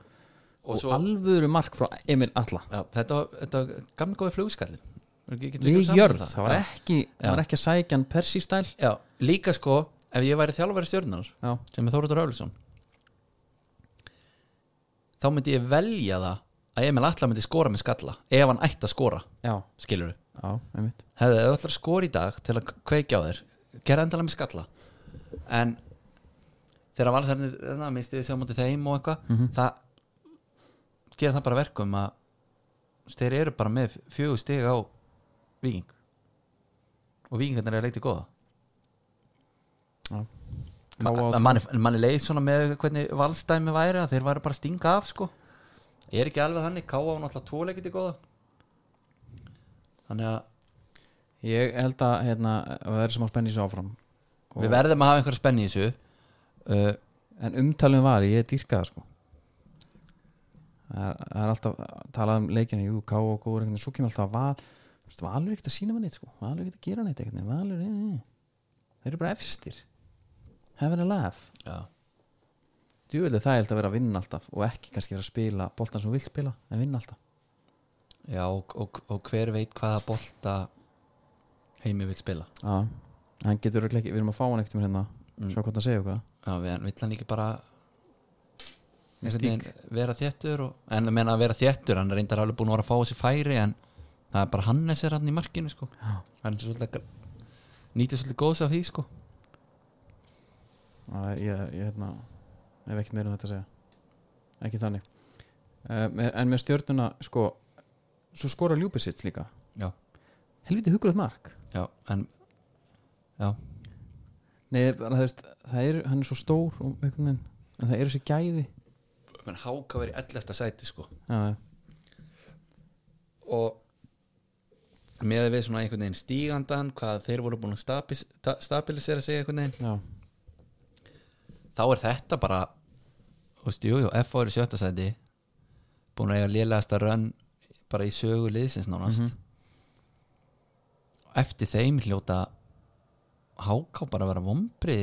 og, og svo, alvöru mark frá Emil Alla já, þetta, var- þetta var gamla góði flugskallin Við um jörð, það var ekki það var ekki að sækja hann Persi stæl já, líka sko, ef ég væri þjálfari stjörnunar Já, sem er Þóruður Rálusson þá myndi ég velja það að Emil Atla myndi skora með skalla ef hann ætti að skora, já, skilur við já, einmitt hefði þau ætlar að skora í dag til að kveikja á þér gera endalega með skalla en þegar valsarnir hérna, minnstu þið sem mútið þeim og eitthvað Mhm. það gera það bara verkum að þeir eru bara með fjögur stig á viking og vikingarnir er leikti góða Já. Ma- K.O. en manni, en manni leið svona með hvernig valstæmi væri að þeir væri bara að stinga af sko er ekki alveg þannig, káa á náttúrulega tvo leikiti góða þannig að Ég held að hérna, að það er sem á spenni svo áfram Og- Við verðum að hafa einhverja spenni í þessu uh, En umtalum var, ég er dýrkaða sko Það er, það er alltaf talað um leikina, jú, ká og góður einhvern veginn, svo kemur alltaf val þú veist, Valur er ekkert að sína maður neitt sko Valur er ekkert að gera neitt einhvern veginn Valur, e, e, þeir eru bara efstir Heaven a laugh Já, Djúvileg það er að vera að vinna alltaf og ekki kannski vera að spila boltan sem þú vilt spila en vinna alltaf já og, og, og hver veit hvaða bolta heimi vil spila Já, hann getur örugglega ekki, við erum að fá hann ekkert um hérna Mm. sjá hvort hann segja okkur það. Já, við vill hann ekki bara Stík. einhvern veginn vera þéttur og, en að meina að vera þéttur, hann er reyndar alveg búin að vera að fá þessi færi en það er bara Hannes er hann í markinu sko Já. hann er svolítið gr- nýtur svolítið góðs af því sko Já, ég, ég hérna hef ekkert meira um þetta að segja ekki þannig um, en með stjörnuna, sko svo skora ljúpisitt líka Já. helviti hugulegt mark Já, en Nei, bara, það, veist, það er, hann er svo stór og, einhvern veginn, en það eru sér gæði menn háka verið 11. sæti sko já, já, og með við svona einhvern veginn stígandan hvað þeir voru búin að stabis- ta- stabilisera sig einhvern veginn já, þá er þetta bara þú veist, jú, jú, FH er í sjötta sæti búin að eiga lélegasta rönn bara í sögu liðsins nánast Mhm. eftir þeim hljóta háká bara að vera vombri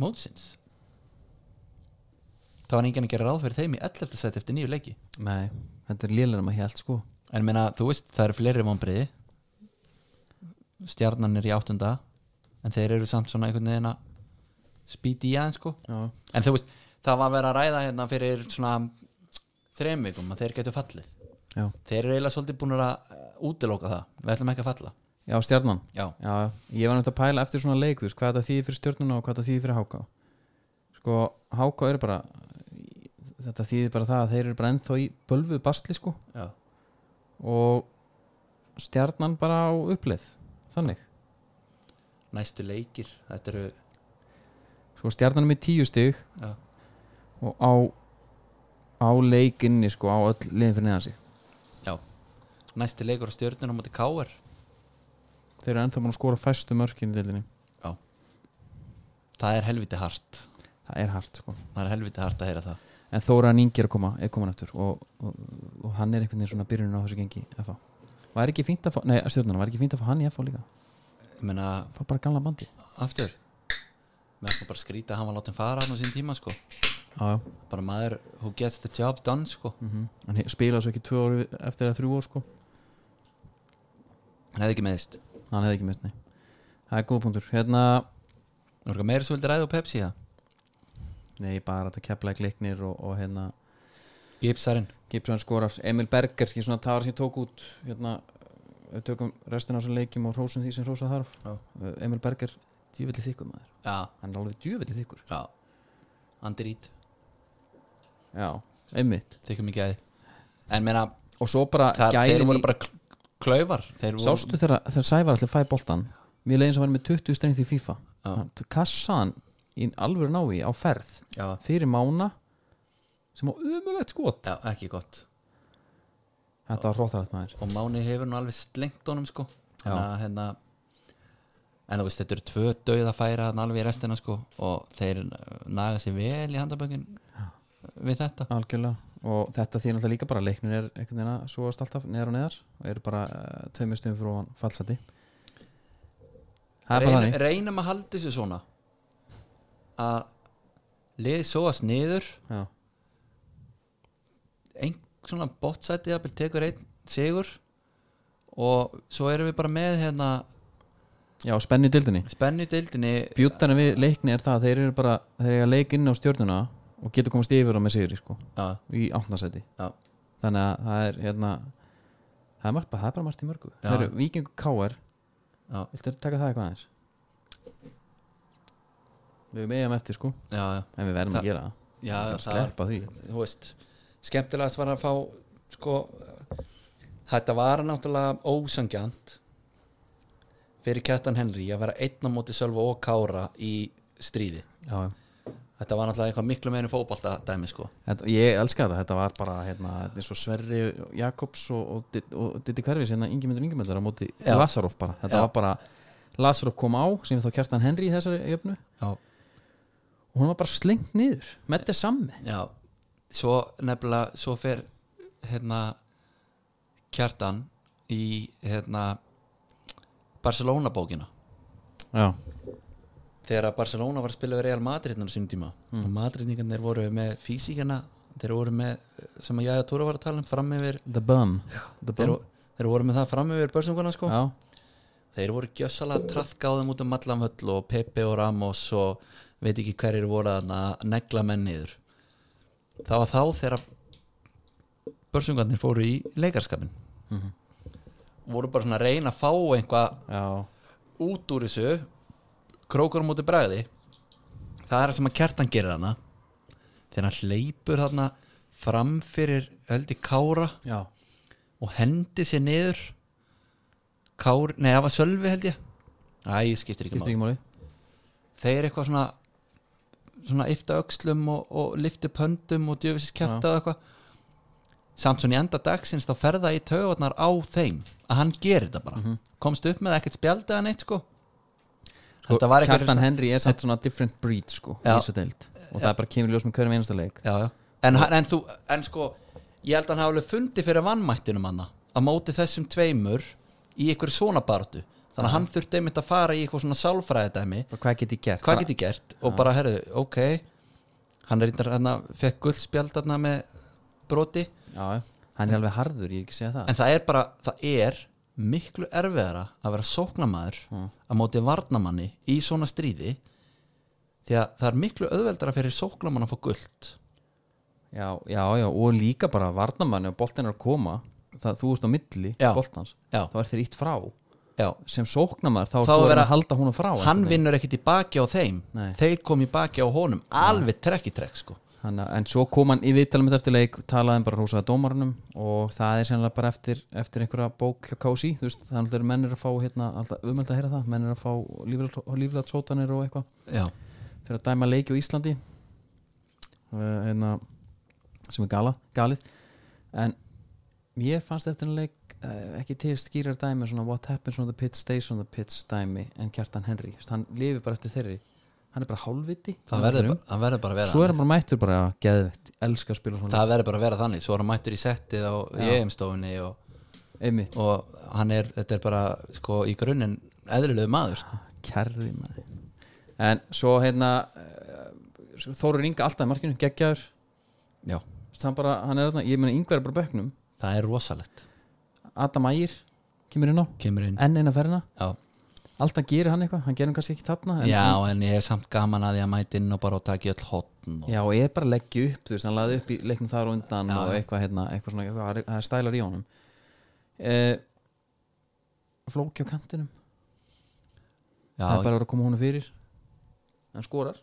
mótsins það var enginn að gera ráð fyrir þeim í 11. sæti eftir nýju leiki nei, þetta er lélega maður held sko en ég meina, þú veist, það eru fleiri vombriði stjarnan er í áttunda en þeir eru samt svona einhvern veginn að spýti í aðeins sko já, En þú veist, það var verið að ræða hérna fyrir svona þreim vikum að þeir getur fallið. já, Þeir eru eiginlega svolítið búin að eh, útiloka það. Við ætlum ekki að falla. já stjarnan Já, já, já. ég var náttúrulega að pæla eftir svona leik þú veist, hvað þetta þýðir fyrir stjórnuna og hvað þetta þýðir fyrir háká sko, háká eru bara þetta þýðir bara það að þeir eru bara ennþá í bölvu basli sko já. og stjarnan bara á uppleið þannig, Næstu leikir, þetta eru, sko stjarnan er með tíu stig já, og á á leikinni sko, á öll liðin fyrir neðan sig já. Næsti leikur á stjörnunum á móti K.R. þeir eru ennþá búin að skora fæstu mörkin í deildinni Það er helviti hart. það er hart sko, Það er helviti hart að heyra það. en Þóra Ningi er að koma er komin aftur og, og, og hann er einhvern veginn svona byrjunin á þessu gengi FH var ekki fínt að fá, nei stjórnarna, var ekki fínt að fá hann í FH líka Ég meina, fá bara gamla bandi aftur. Mér ætlum bara að skrýta að hann var látið fara hann á sín tíma, sko. já, já. Bara maður who gets the job done, sko. Mm hann spilaði svo ekki tvö orði eftir að þrjú orð sko Hann hefði ekki meðist. hann hefði ekki mist, nei það er góð punktur, hérna Nú er eitthvað meira svo vildi ræða á Pepsi, það. nei, bara þetta kepla gliknir og, og hérna Gipsarinn. Gibson skorar, Emil Berger ekki svona tafar sem ég tók út hérna, við tökum restina á þessum leikjum og hrósum því sem hrósað þarf Já. uh, Emil Berger, djúvillig þykkur maður Já, hann er alveg djúvillig þykkur já. Andir ít. já, einmitt þykkum í gæði en meina, og svo bara það, þeir gæðin voru í bara kl- klaufar þeir voru, sástu þegar, þegar Sævar allir fæði boltan mér leiðin sem var með 20 strengt í FIFA Já. Hann- kassaðan í alvöru nái á ferð já, fyrir mána sem á umulegt skot já, ekki gott þetta var hróttarætt maður og Máni hefur nú alveg slengt honum sko Já. Þannig að hérna en þú veist, þetta eru tvö döið að færa þarna alveg í restina sko og þeir uh, naga sér vel í handabökin við þetta algjörlega og þetta þýðir náttúrulega líka bara að leiknir er einhvern veginn að súast alltaf neðar og neðar og eru bara uh, tveimur stöðum frá hann fallseti það er bara Reyn, þannig reynum að halda þessu svona að liðið sóast niður Já. einn svona botsæti jafnvel tekur einn sigur og svo erum við bara með hérna já, spennu í dildinni spennu í deildinni bjúttanum við leikni er það að þeir eru bara þeir eru að leik inn á stjórnuna og getur komast yfir á með sigri sko, já, í áttnarsæti já, þannig að það er hérna það er, margt, það er bara margt í mörgu Já. það eru Víkingu KR, já, viltu taka það eitthvað aðeins? við erum eigum eftir sko já, já, en við verðum Það- að gera það, já það er að það var- sleppa því þú veist skemmtilegast var að fá sko þetta var náttúrulega ósangjant fyrir Kjartan Henry að vera einn á móti Sölva og Kára í stríði já, já þetta var náttúrulega eitthvað miklu meðin fótbolta dæmi sko Þetta, ég elska þetta, þetta var bara hérna, þetta er svo Sverri Jakobs og, og, Did- og Diddi Hverfis, hérna Ingemyndur Ingemyndur á móti Já. Lasaroff bara, þetta Já. var bara Lasaroff kom á, sem þá kjartan Henry í þessari öfnu já, og hún var bara slengt niður, með þetta sammi já. svo nefnilega svo fer hérna Kjartan í hérna Barcelona bókina Já, þegar að Barcelona var að spila við Real Madrid á sínum tíma og Madridningarnir voru með físíkina þeir voru með, sem að Jæja Tóra var að tala um fram yfir, The Bum The þeir, Bum, þeir voru með það fram yfir börsunguna sko, já, þeir voru gjössalega trafkáðum út um allan völl og Pepe og Ramos og veit ekki hverjir voru þarna að negla menn niður það var þá þegar börsungarnir fóru í leikarskapin voru bara svona að reyna að fá einhvað já út úr þessu krókur á móti bræði það er það sem að kjartan gerir hana þegar hann hleypur þarna fram fyrir höldi Kára Já, og hendi sér niður Kári, nei það var Sölvi held ég Æ, ég skiptir ekki getur máli ekki máli Þeir eitthvað svona svona yfta öxlum og, og lifti pöndum og djöfisins kjæfta og eitthvað samt svona í enda dagsins þá ferða í taugarnar á þeim að hann gerir þetta bara komst upp með ekkert spjald eða neitt sko sko, Þetta var eitthvað- Kjartan Henry er samt svona different breed sko, í Já. þessu deild og það er bara kemur í ljós með hverjum einasta leik já, já. En, hann- en, þú, en sko ég held að hann hafi alveg fundið fyrir vannmættinum hann að móti þessum tveimur í einhverju svona baratu þannig að hann þurfti einmitt að fara í eitthvað svona sálfræðidæmi Bara, Hvað get ég gert? hvað get ég gert og bara herðu, ok hann er reyndar hann fekk guldspjald hann með broti Já, hann er alveg harður, ég er ekki að segja það en það er bara, það er miklu erfiðara að vera sóknamaður að móti varnamanni í svona stríði því að það er miklu auðveldara fyrir sóknamann að fá guld Já, já, já, og líka bara varnamanni og boltin er að koma það, þú ert á milli Já. boltans Já. þá er þér ítt frá já, sem sóknamaður þá, Þá þá er vera- að halda hún frá hann einhvern veginn. vinnur ekkit í baki á þeim Nei. þeir kom í baki á honum alveg trekk í trekk sko Hann, að- en svo kom hann í viðtalum þetta eftir leik talaði hann bara húsaða dómarunum og það er sennilega bara eftir, eftir einhverja bók hjá Kási, þú veist, þannig að menn er að fá hérna, alltaf umöld að heyra það, menn er að fá líflægt sótanir og eitthvað já, fyrir að dæma leiki á Íslandi uh, hérna, sem er gala, galið en mér fannst eftir en leik uh, ekki til skýrar dæmi svona what happens on the pitch stays on the pitch dæmi en Kjartan Henry, Þess, hann lifi bara eftir þeirri hann er bara hálfviti það hann verður fer um. ba- það verður bara að vera svo er hann bara mættur bara geðvett elska að spila svona það verður bara að vera þannig, svo er hann mættur í settið á EM-stofunni og, leik. einmitt, og hann er, þetta er bara sko í grunninn eðlilegu maður sko. Ah, kærði maður en svo hérna uh, Þórur Inga alltaf í markinu, geggjaður já, hann, bara, hann er þarna, ég meina Inga er bara á bekknum það er rosalegt Adam Ægir kemur inn á kemur inn, enn eina ferðina já, alltaf gerir hann eitthvað, hann gerir hann kannski ekki þarna en, já en ég er samt gaman að ég mæti inn og bara og taki öll hotn og, já, og er bara að leggja upp, þú veist, hann laði upp í leiknum þar og undan Já, og já. eitthvað hérna, eitthvað svona, eitthvað, það er- það er stælar í honum uh, flóki á kantinum já, það er bara að vera að koma honum fyrir hann skorar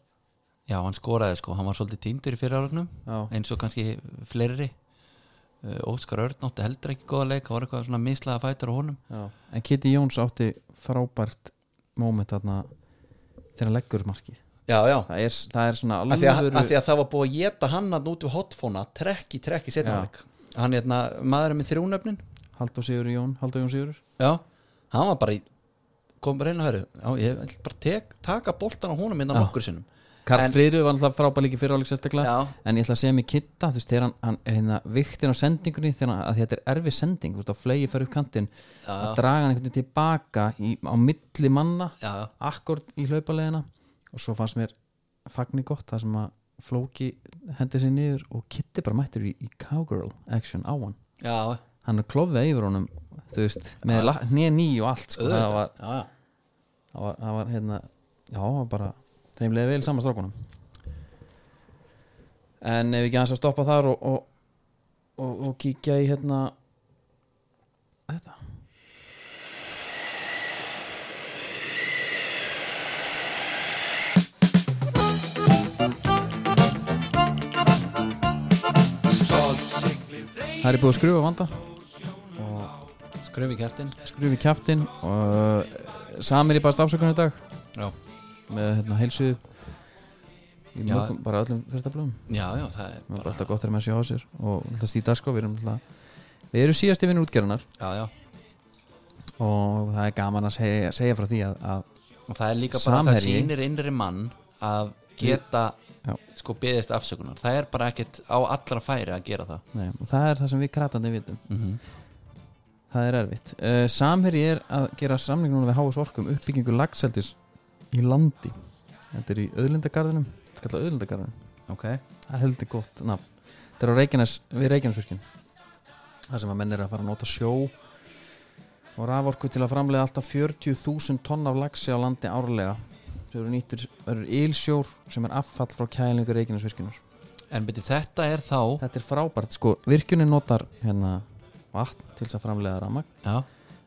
já, hann skoraði sko, hann var svolítið týndur í fyrirárunum já, eins og kannski fleiri Uh, Óskar Örn átti heldur ekki góða leik það var eitthvað svona mislaða fætur á honum já. en Kitty Jóns átti frábært moment þarna þegar hann leggur upp markið já, já, það er, það er svona af því, að, alvöru af því að það var búið að geta hann að út við hotfóna trekk í trekk í Já. setnáleik hann er maðurinn með þrjúnöfnin Haldur Sigur Jón, Haldur Jón Sigur Já, hann var bara í kom bara inn og höru, já, ég ætl bara tek, taka boltan á honum innan Já. okkur sinnum Karl En- Friður var alltaf frábær líki fyrir áleik sérstaklega Já, en ég ætla að segja mig kitta þú veist, þegar hann, hann hérna, viktin á sendingunni þegar hann, að þetta er erfið sending, þú veist, á flegi fyrir upp kantinn, já, að já, draga hann einhvern veginn tilbaka í, á milli manna já, akkord í hlaupalegina og svo fannst mér fagni gott það sem að Flóki hendi sér niður og kitti bara mættur í, í cowgirl action á hann, já, hann er klofið yfir honum, þú veist, með ja. nýja ný og allt, sko, það auðvitað, var, já, já. það var, það var hérna, já, það var bara þeim leiði vel saman strákunum en ef ekki aðeins að stoppa þar og, og, og, og kíkja í hérna þetta Það er búið að skrufa vanda Skröfi kæftin skrufi kjaftin og eh, samir í bara stafsökunni í dag Já, með hérna heilsuðu í Já. mörgum, bara öllum fyrirtablum já, já, það er það er bara alltaf gott þegar maður sé á sér og alltaf Stíf Dasko, við erum alltaf við erum síðast yfir útgerðunar Já, já, og það er gaman að segja, segja frá því að, að og það er líka bara að það Samherji. sýnir innri mann að geta Já. sko beðist afsökunar það er bara ekkert á allra færi að gera það nei, og það er það sem við kratandi vitum mm -hmm. það er erfitt uh, Samherji er að gera samning núna við Háus Orkum um uppbyggingu lagseldis í landi þetta er í öðlindagarðinum þetta er kallað öðlindagarðinum ok, það er heldur gott nafn þetta er á Reykjanes, við Reykjanesvirkjun það sem að menn eru að fara að nota sjó og raforku til að framlega alltaf 40.000 tonn af lagsi á landi árlega sem eru nýttur, eru ílsjór sem er affall frá kælingu Reykjanesvirkjunar en beti þetta er þá þetta er frábært, sko, virkjunin notar hérna vatn til þess að framlega ramag já,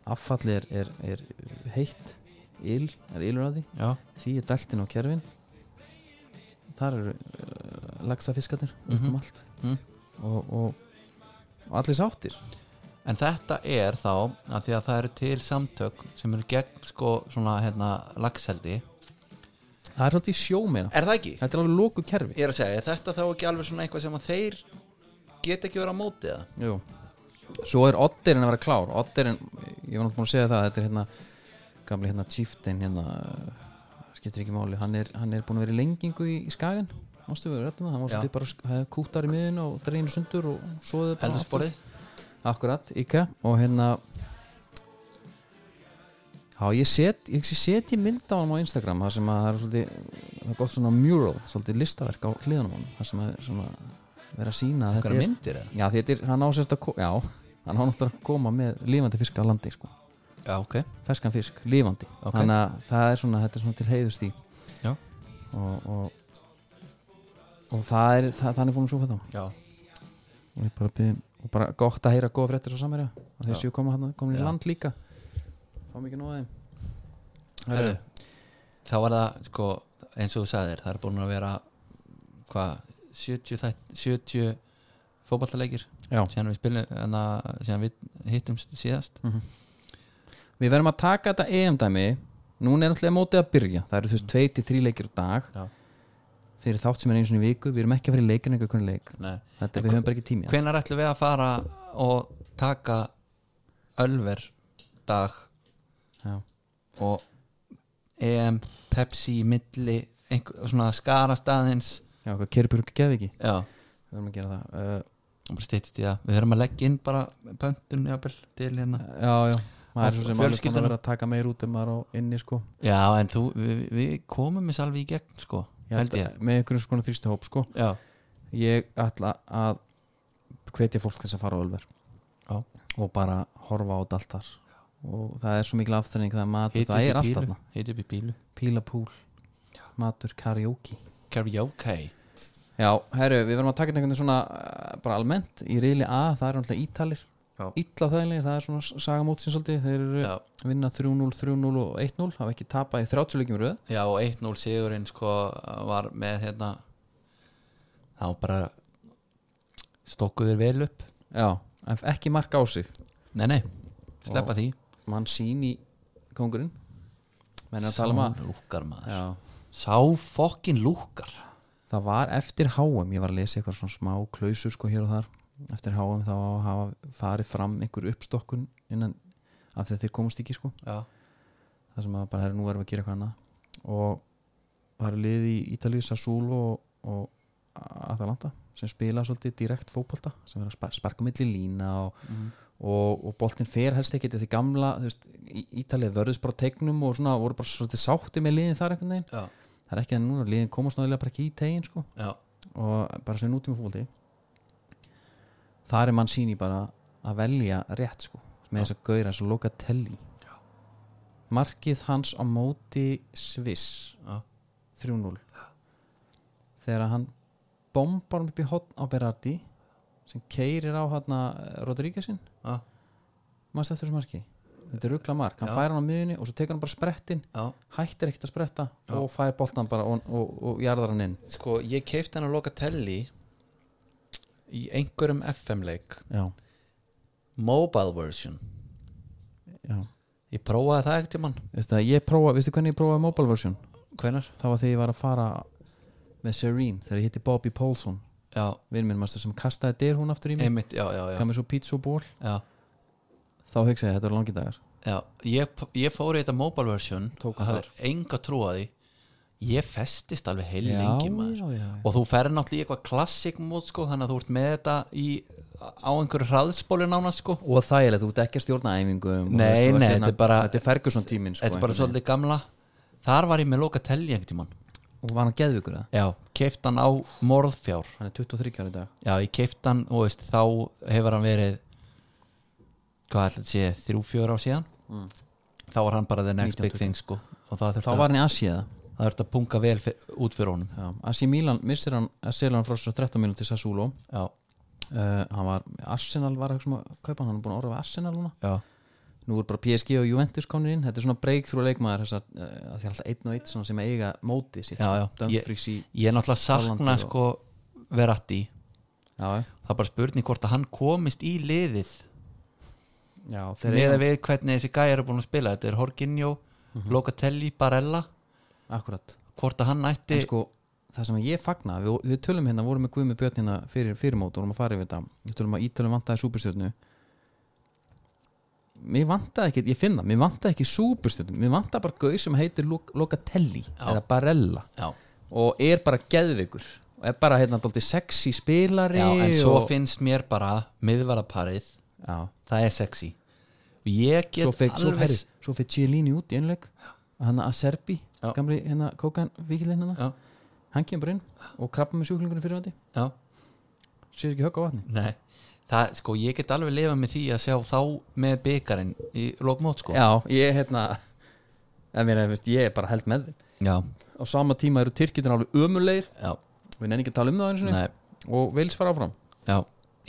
affallið er, er, er heitt íl, er ílur að því já, því er dæltin á kerfin þar eru uh, lagsafiskatir mm Mhm. um allt Mhm. og, og, og allir sáttir en þetta er þá að því að það eru til samtök sem eru gegn sko svona hérna lagseldi það er svolítið í sjó meina er það ekki? þetta er alveg lóku kerfi ég er að segja, er þetta þá ekki alveg svona eitthvað sem að þeir geta ekki verið á móti það Jú. svo er odderinn að vera klár odderinn, ég var náttúrulega búin að segja það þetta er hérna gamli hérna chieftain hérna, uh, skiptir ekki máli hann er, hann er búin að vera í lengingu í, í skagin mástu við rættum það, hann var Já. svolítið bara sk- það er kútar í miðun og dreinu sundur og svoðið bara aftur. eldursporið, Akkurat, Ika og hérna Já, ég set ég set í mynd á hann á Instagram þar sem að það er svolítið það er gott svona mural, svolítið listaverk á hliðanum hann þar sem að svona vera að sína að þetta einhverja er, myndir eða? Já, þetta er, hann á sérst að ko- já, hann á náttúrulega að koma með lífandi fisk á landi, sko, já, ok, ferskan fisk, lífandi Ok. þannig að það er svona, þetta er svona til heiðust í Já. og, og og það er, það, þannig fórum svo fætt á já, og ég bara byrði og bara gott að heyra góða fréttir á samverja að þeir Já. séu koma hann komin í Já. land líka þá mikið nóðið Herru, þá var það sko, eins og þú sagðir, það er búin að vera hvað, 70, þætt- 70 fótballaleikir Já. síðan við spilum, en að síðan við hittumst síðast við verðum að taka þetta EM dæmi núna er náttúrulega mótið að byrja það eru þú veist 2-3 leikir á dag Já. fyrir þátt sem er einu sinni í viku við erum ekki að fara í leikin eitthvað hvernig leik Nei. þetta En við höfum bara ekki tími í það. hvenær ætlum við að fara og taka Ölver dag Já. og EM, Pepsi, Milli einhver, svona skara staðins já, hvað Kerburg gefi ekki já, og við verðum að gera það uh, bara stýttist í það við höfum að leggja inn bara pöntun jáfnvel til hérna já, já Uh, maður er svo sem alveg búin Fjölskyldan- að vera að taka meir út um maður á inni sko Já, en þú, við, við komum þess alveg í gegn, sko, Ég held held ég að- með einhverjum svona þrýstu hóp sko Já, ég ætla að hvetja fólk til þess að fara á Ölver Já. og bara horfa á þetta allt þar og það er svo mikil afturning það er matur, hiti það er upp í allt bílu þarna Hiti upp í bílu pílapúl, matur, karaoke Karaoke já, herru, við verðum að taka þetta einhvern veginn svona eh, bara almennt, í reyli A það eru alltaf ítalir, Já. ítla þægilegir það er svona sagamótsins svolítið, þeir eru Já, vinna 3-0, 3-0 og 1-0 hafa ekki tapað í 30 leikjum í röð já og 1-0 sigurinn, sko, var með, hérna Þá bara stokkuður vel upp já, en ekki mark á sig Nei, nei, sleppa því mann sín í kongurinn menn er að tala um að Sá lúkar maður já, Sá fokkin lúkar það var eftir HM ég var að lesa eitthvað svona smá klausur sko hér og þar eftir HM þá hafa farið fram einhver uppstokkun innan af því að þeir komast ekki sko Já, það sem að bara herri nú erum við að gera eitthvað annað og var lið í Ítalíu Sassuolo og, og Atalanta sem spila svolítið direkt fótbolta sem er að spar sparka milli lína og, Mhm. og, og boltin fer helst ekki því gamla, þú veist, Í- Ítalía vörðust bara á tegnum og svona voru bara svolítið sátti með liðin þar einhvern veginn, já, það er ekki að núna liðin komast náðilega bara ekki í tegin sko já, og bara sem nútíma fótbolti þar er mann síni bara að velja rétt sko með þess að gauðra eins og Locatelli markið hans á móti Sviss já, 3-0 þegar hann bombar hann upp í hotn á Berardi sem keirir á hann eh, Rodríguezin já, maður stættur þessu marki þetta er ruggla mark, hann Já. fær hann á miðunni og svo tekur hann bara sprettinn já. hættir ekkert að spretta Já. og fær boltan bara og, og, og jarðar hann inn Sko, ég keipti hann að loka telli í einhverjum FM-leik já, Mobile version já Ég prófaði það ekkert í mann Veistu að ég prófa, veistu hvernig ég prófaði mobile version? Hvenar? Það var þegar ég var að fara með Serene þegar ég hitti Bobby Paulson Já, vinn minn master sem kastaði dyr hún aftur í mig einmitt, já, já, já, gaf mér svo pizza og ból já, þá hugsaði ég þetta eru langi dagar já. Ég, ég fór í þetta mobile version Tók og hann hafði enga trú að því Ég festist alveg heil lengi maður já, já, já. Og þú ferð náttúrulega í eitthvað klassik mót sko Þannig að þú ert með þetta í, á einhverju hraðspóli nána sko og þægilegt, þú ert ekki að stjórna æfingum og Nei, þú ert nei, hérna- þetta er bara- þetta er Ferguson tíminn sko, Þetta er bara einhvern svolítið gamla Þar var ég með loka telli einhvern tímann veginn. og var hann geðvikur það, Já, keift hann á morðfjár hann er 23 ára í dag Já, ég keift hann og veist, þá hefur hann verið hvað ætlaði að sé, þrjú, fjör á síðan þá var hann bara the next big thing sko. og Mm. það þá þurfti, var hann í Asíða að, það þurfti að punga vel fyr, út fyrir honum Así Milan, missir hann að selja hann frá sér á 13 mínúti til Sassulo uh, Já, hann var, Arsenal var að hugsa um að kaupa hann, hann er búin að orða við Arsenal núna já, nú er bara PSG og Juventus komin inn þetta er svona breakthrough leikmaður þessar, uh, að því er alltaf einn og einn svona sem eiga mótið sitt já, já. Ég, Dumfries í ég er náttúrulega sakna Hollandi og- sko, Verratti já, það er bara spurning hvort að hann komist í liðið já, þeir með eiga að við hvernig þessi gæja eru búin að spila þetta er Horginjó, Mhm. Locatelli, Barella akkurat hvort að hann ætti en sko, það sem ég fagna við, við tölum hérna, vorum með Guðmi Björn hérna fyrir, fyrir mót, vorum að fara yfir þetta við tölum að ítölum vantaði súperstjörnu mér vantaði ekki, ég finna mér vantaði ekki súperstjörnu, mér vantaði bara gauð sem heitir Lo- Locatelli eða Barella Já, og er bara geðvikur og er bara hérna dálítið sexy spilari já, en svo og, finnst mér bara miðvaraparið, já, það er sexy og ég get svo fekk svo, alveg herri, svo fekk Chiellini út í einleik hann að Serbi, Já. gamli hérna kókan vikilinn hérna, já, hann kemur bara inn og krabba með sjúklingunum fyrir vandi, já, sér ekki högg á vatni nei það, sko, ég get alveg lifað með því að sjá þá með byggarinn í lokmót, sko já, ég hérna en mér, veist, ég er bara held með þeim já, á sama tíma eru tyrkitin alveg ömulegir já, við nenni ekki að tala um það einu sinni nei, og Vils fara áfram já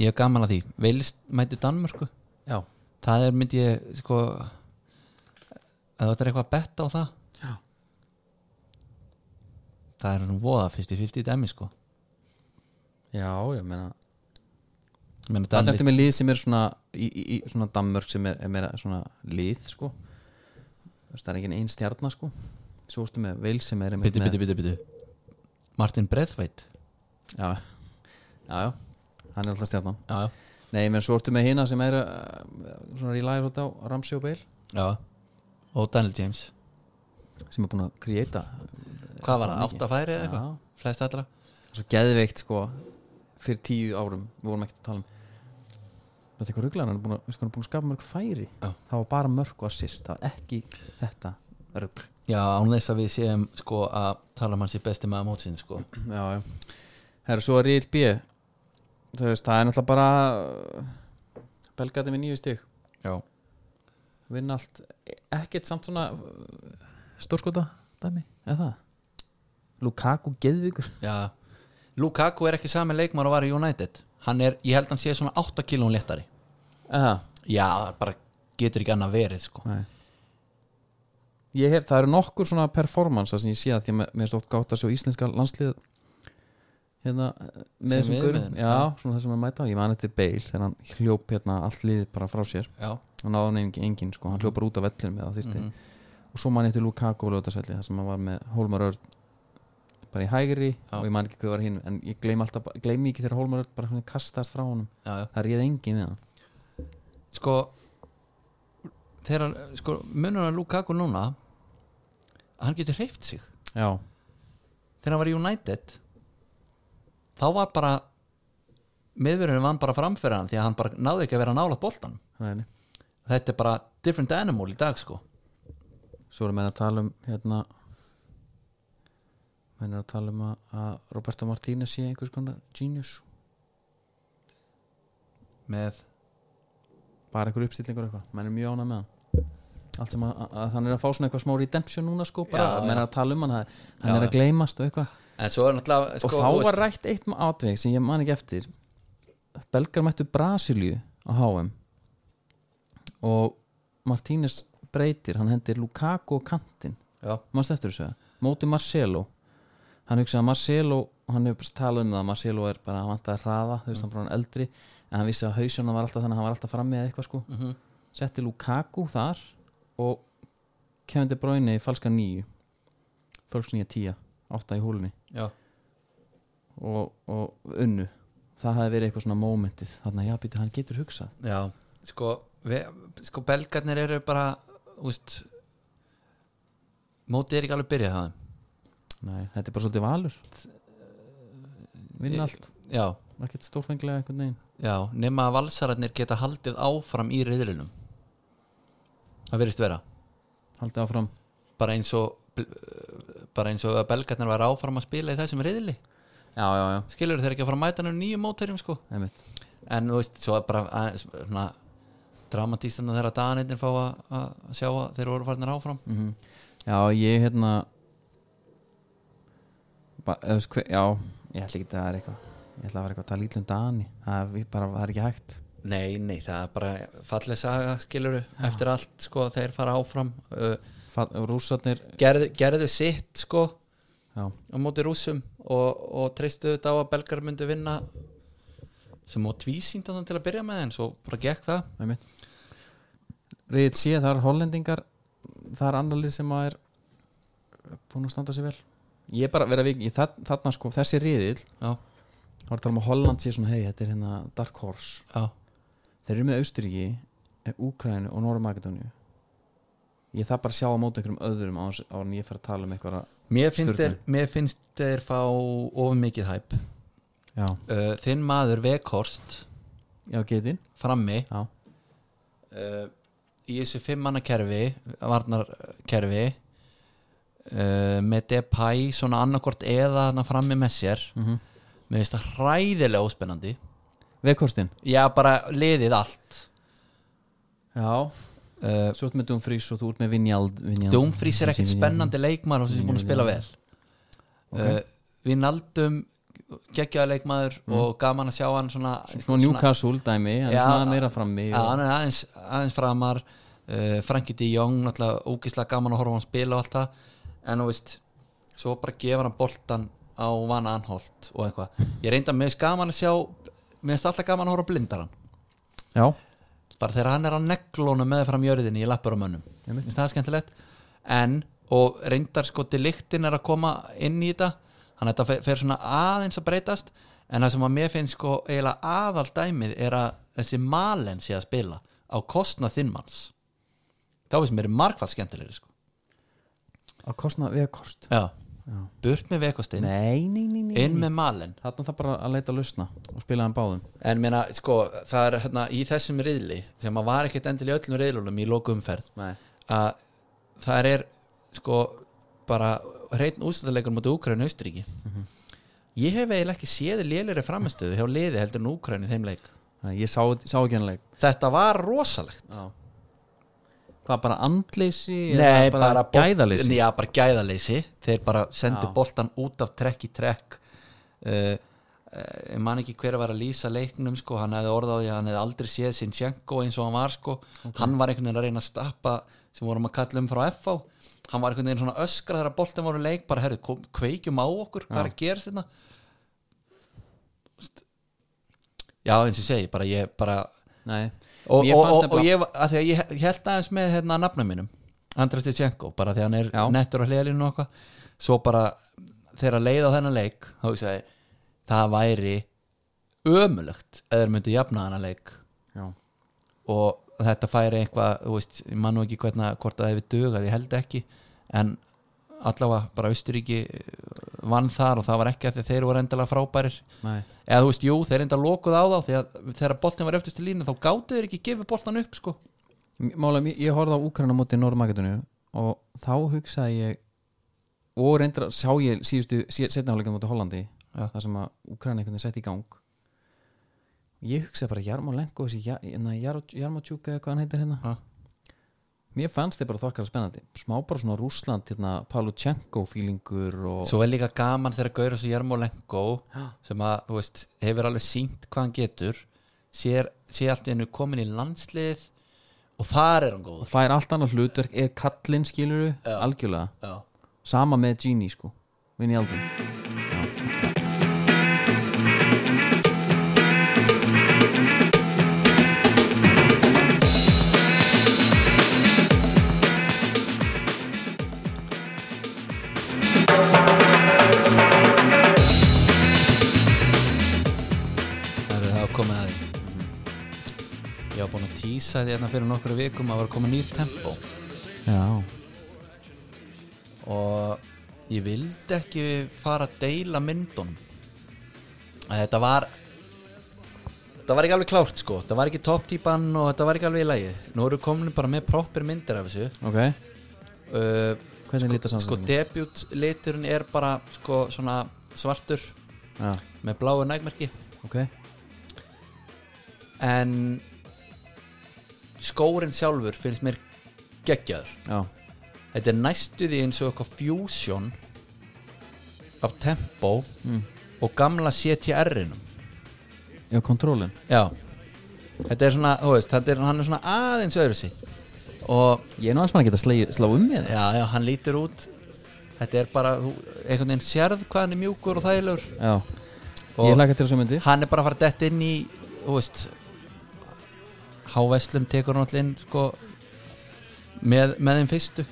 ég er gaman að því, velist mæti Danmörku já, það er myndi ég, sko að þetta er eitthvað að betta á það Já. það er nú voða 50-50 dæmi, sko já, ég meina þannig Menni, Danir, eftir með lið sem er svona í, í, í svona Danmörk sem er, er meira svona lið sko Þú veist, það er ekki einn stjarnar sko svo ertu með Vils sem er einmitt bitu, með- bitu, bitu, bitu Martin Breðveit já, já, já hann er alltaf stjarnan já, nei, menn svo ertu með hina sem er uh, svona relæður út á Ramsey og Bale já og Daniel James sem er búin að kreita hvað var það, mikið. átta færi eða já, eitthvað flest allra svo geðveikt sko fyrir tíu árum, við vorum ekkert að tala um þetta er eitthvað rugglar hann er búin að, veistu hvað, hann er búin að skapa mörg færi Já. það var bara mörg og assist, það var ekki þetta rugg já, án þess að við séum sko að tala um hans í besti maður mótsinn sko já, já herru, svo er Ríl B þú veist, það er náttúrulega bara belgati með nýju stig já, vinna allt e, ekkert samt svona uh, stórskota dæmi, eða það Lukaku geðvíkur já Lukaku er ekki sami leikmar að vara í United hann er, ég held hann sé svona 8 kilón léttari eða, já, það bara getur ekki annað verið sko nei ég hef, það eru nokkur svona performance sem ég sé að því að mér- mér er stótt gátt að sjá íslenska landslið hérna eh, með Sem þessum við gurum, með þeim, já, svona þessum að mæta ég man þetta er Bale, þegar hann hljóp hérna allt liðið bara frá sér, já, hann náði hann engin, engin sko, hann hljóp bara út af vellinum eða þyrfti Mhm. og svo man ég til Lukaku og Ljóðarsvelli það sem hann var með Hólmar Örn bara í hægri Já. og ég man ekki hvað var hinn en ég gleym alltaf, bara- gleymi ekki þegar Hólmar Örn bara hann kastast frá honum, já, já það réði engin við hann sko þegar, sko, munur að Lukaku núna hann getur hreift sig já, þegar hann var í United þá var bara miðurinn vann bara framfyrir hann því að hann bara náði ekki að vera nála boltan Nei, nei. þetta er bara different animal í dag sko Svo erum við að tala um hérna menn er að tala um að, að Roberto Martínez sé einhvers konar genius með, bara einhver uppstillingur eitthvað, menn er mjög ánað með hann allt sem að, að, að hann er að fá svona eitthvað smá redemption núna sko, bara, Já, menn er að tala um hann hann Já, er að gleymast og eitthvað en svo er náttúrulega sko, og þá þú var veist- rætt eitt átveg sem ég man ekki eftir Belgar mættu Brasilíu á HM og Martínez breytir hann hendir Lukaku og kantinn já, mannst eftir þessu eða? móti Marcelo hann hugsaði að Marcelo hann hefur talað um það að Marcelo er bara hann vantaði að hraða þú veist Mm. hann bara hann eldri en hann vissi að hausjónu var alltaf þannig að hann var alltaf frammi eða eitthvað sko Mhm. setti Lukaku þar og Kevin De Bruyne í falska nýju falska nýja tíja átta í húlunni já, og, og unnu það hafi verið eitthvað svona momentið þannig að já býti hann getur hugsað já sko, vi, sko belgarnir eru bara úst, mótið er ekki alveg byrjað það Nei, þetta er bara svolítið valur vinna allt já, ekkert stórfenglega einhvern veginn Já, nema að valsararnir geta haldið áfram í riðlinum Það verðist vera haldið áfram bara eins og bara eins og að belgarnar var áfram að spila í þessum riðli já já já skilur þeir ekki að fara að mæta hann um nýju mótærum sko Einmitt. en þú veist, svo er bara aðeins, svona, dramatístan þegar að Danirnir fá að, að sjá að þeir voru farnir áfram Mm Já, ég hérna bara, eða, þú veist, hver, Já, ég ætla ekki að það er eitthvað Ég ætla að vera eitthvað að tala ítlum Dani Það er við bara, það er ekki hægt Nei, nei, það er bara falleg saga skilur eftir allt sko þeir fara áfram uh, Fa- Rússarnir, gerðu, gerðu sitt sko já, á móti rúsum og, og treystu þetta á að belgar myndu vinna sem á tvísýnd þannig til að byrja með en svo bara gekk það með mitt Reyðið sé, það er hollendingar Það er annar lið sem að er búin að standa sér vel Ég er bara að vera vik, ég, það, þarna sko, þessi riðil já, þá er að tala um að Holland sé svona, hei, þetta er hérna Dark Horse já, Þeir eru með Austuríki, Úkrænu og Norra-Makedóníu Ég þarf bara að sjá á móti einhverjum öðrum á en ég fer að tala um eitthvað mér finnst, Sturlu. þeir, mér finnst þeir fá of mikið hæp Já, uh, þinn maður Vekhorst já, getin frammi Já. uh, í þessu fimmanna kerfi varnarkerfi uh, með Depay svona annarkort eða þarna frammi með sér mm -hmm. mér finnst það hræðilega óspennandi Vekkostin já, bara liðið allt Já, uh, svo ert með Dumfries og þú ert með Vinjald, Vinjald. Dumfries er ekkert spennandi leikmaður og sem er búin að spila vel okay. Ok. uh, Við naldum geggjaða leikmaður og gaman að sjá hann svona, Svona Newcastle dæmi, en Já, svona meira frammi ja, hann er aðeins, aðeins framar uh, Frankie de Jong, náttúrulega ógislega gaman að horfa á hann spila og allt það en þú veist, svo bara gefur hann boltan á vana anholt og eitthvað ég reynda með þess gaman að sjá mér finnst alltaf gaman að horfa á blindaran Já, bara þegar hann er að neglónu með fram jörðinni í lappur á mönnum Einmitt. Finnst það er skemmtilegt en, og reyndar sko til lyktin er að koma inn í þetta þannig að þetta fer- fer svona aðeins að breytast en það sem að mér finnst sko eiginlega aðal dæmið er að þessi malen sé að spila á kostna þinnmanns þá finnst mér markvæl skemmtilegri sko að kostna Vekkost já, Já. burt með vekostinn Nei, nei, nei, nei inn með malen Þarna þarf bara að leita að lausna og spila hann báðum en meina sko það er hérna í þessum riðli sem að var ekkert endil í öllum riðlunum í lokumferð Nei að það er sko bara hreitn ústæðarleikur mútið Úkræni og Austuríki ég hef eiginlega ekki séð lélir framistöðu hjá liði heldur en Úkræni þeim leik Ég sá, sá ekki hann leik þetta var rosalegt Já Hvað, bara andleysi Nei, eða bara, bara, bolt- gæðaleysi Já, bara gæðaleysi Þeir bara sendu Já. boltan út af trekk í trekk uh, uh, Ég man ekki hver að vera að lýsa leiknum sko. Hann hefði orðað því að hann hefði aldrei séð Sinchenko eins og hann var sko. Hann var einhvern veginn að reyna að stappa sem vorum að kalla um frá FH Hann var einhvern veginn svona öskra þegar boltan voru leik bara, herðu, kom, kveikjum á okkur, hérna." hvað er að gera þetta Já, eins og ég segi, bara ég bara Nei og, Mér og, fannst og, nefnilega- og ég, var- af því að ég he- held aðeins með hérna nafna mínum Andrés Tjechenko, bara því að hann er Já. nettur á hliðalínu og eitthvað svo bara þegar að leiða á þennan leik þá ég segi, það væri ömulegt eða þeir myndu jafna þennan leik Já, og þetta færi eitthvað, þú veist, ég mann nú ekki hvernig hvort það hefur dugað, ég held ekki en allavega bara Austuríki eh, vann þar og það var ekki að því þeir voru endilega frábærir Nei. eða þú veist, jú, þeir enda lokuð á þá því að þegar boltin var eftirst í línu þá gátu þeir ekki gefið boltan upp sko Málega, ég horfði á Úkraina móti Norrmakedonu og þá hugsaði ég og reyndar sá ég síðustu setnaháleikin móti Hollandi Já. þar sem að Úkraina einhvern veginn sett í gang ég hugsaði bara Jarmo Lenko þessi Ja- hérna, Jaro- Jarmo Tjúka eða hvað hann heitir hérna Já. mér fannst þeir bara þokkar spennandi smá bara svona Rússland hérna, Palutchenko fílingur og svo er líka gaman þegar Gaur og Jarmolenko Já. sem að, þú veist, hefur alveg sínt hvað hann getur sér, sér allt í hennu komin í landslið og þar er hann góður fær allt annað hlutverk er kallinn skilur algjörlega Já. sama með Genie sko Vinni Aldun Það eru það komið að því Ég var búin að tísa því hérna fyrir nokkru vikum að var að koma nýr tempó Já, og ég vildi ekki fara að deila myndunum Að Þetta var þetta var ekki alveg klárt sko þetta var ekki topptípan og þetta var ekki alveg í lagi Nú eru komin bara með proper myndir af þessu ok uh, Hvernig lítur Sko samsæðin? debut liturinn er bara sko svona svartur Já, með bláu nægmerki ok en skórin sjálfur finnst mér geggjaður Já, þetta er næstu því eins og eitthvað fusion af tempo mm. og gamla CTR-inum já kontrólin já þetta er svona, þú veist, þetta er, hann er svona aðeins öðru og Ég er nú aðeins maður að geta slegið- slá um með það já, já, hann lítur út þetta er bara, þú- einhvern veginn sérð hvað hann er mjúkur og þægilegur Já, og ég hlaka til þessu myndi hann er bara að fara dett inn í þú veist Háveslun tekur hann allir inn sko, með, með þeim fyrstu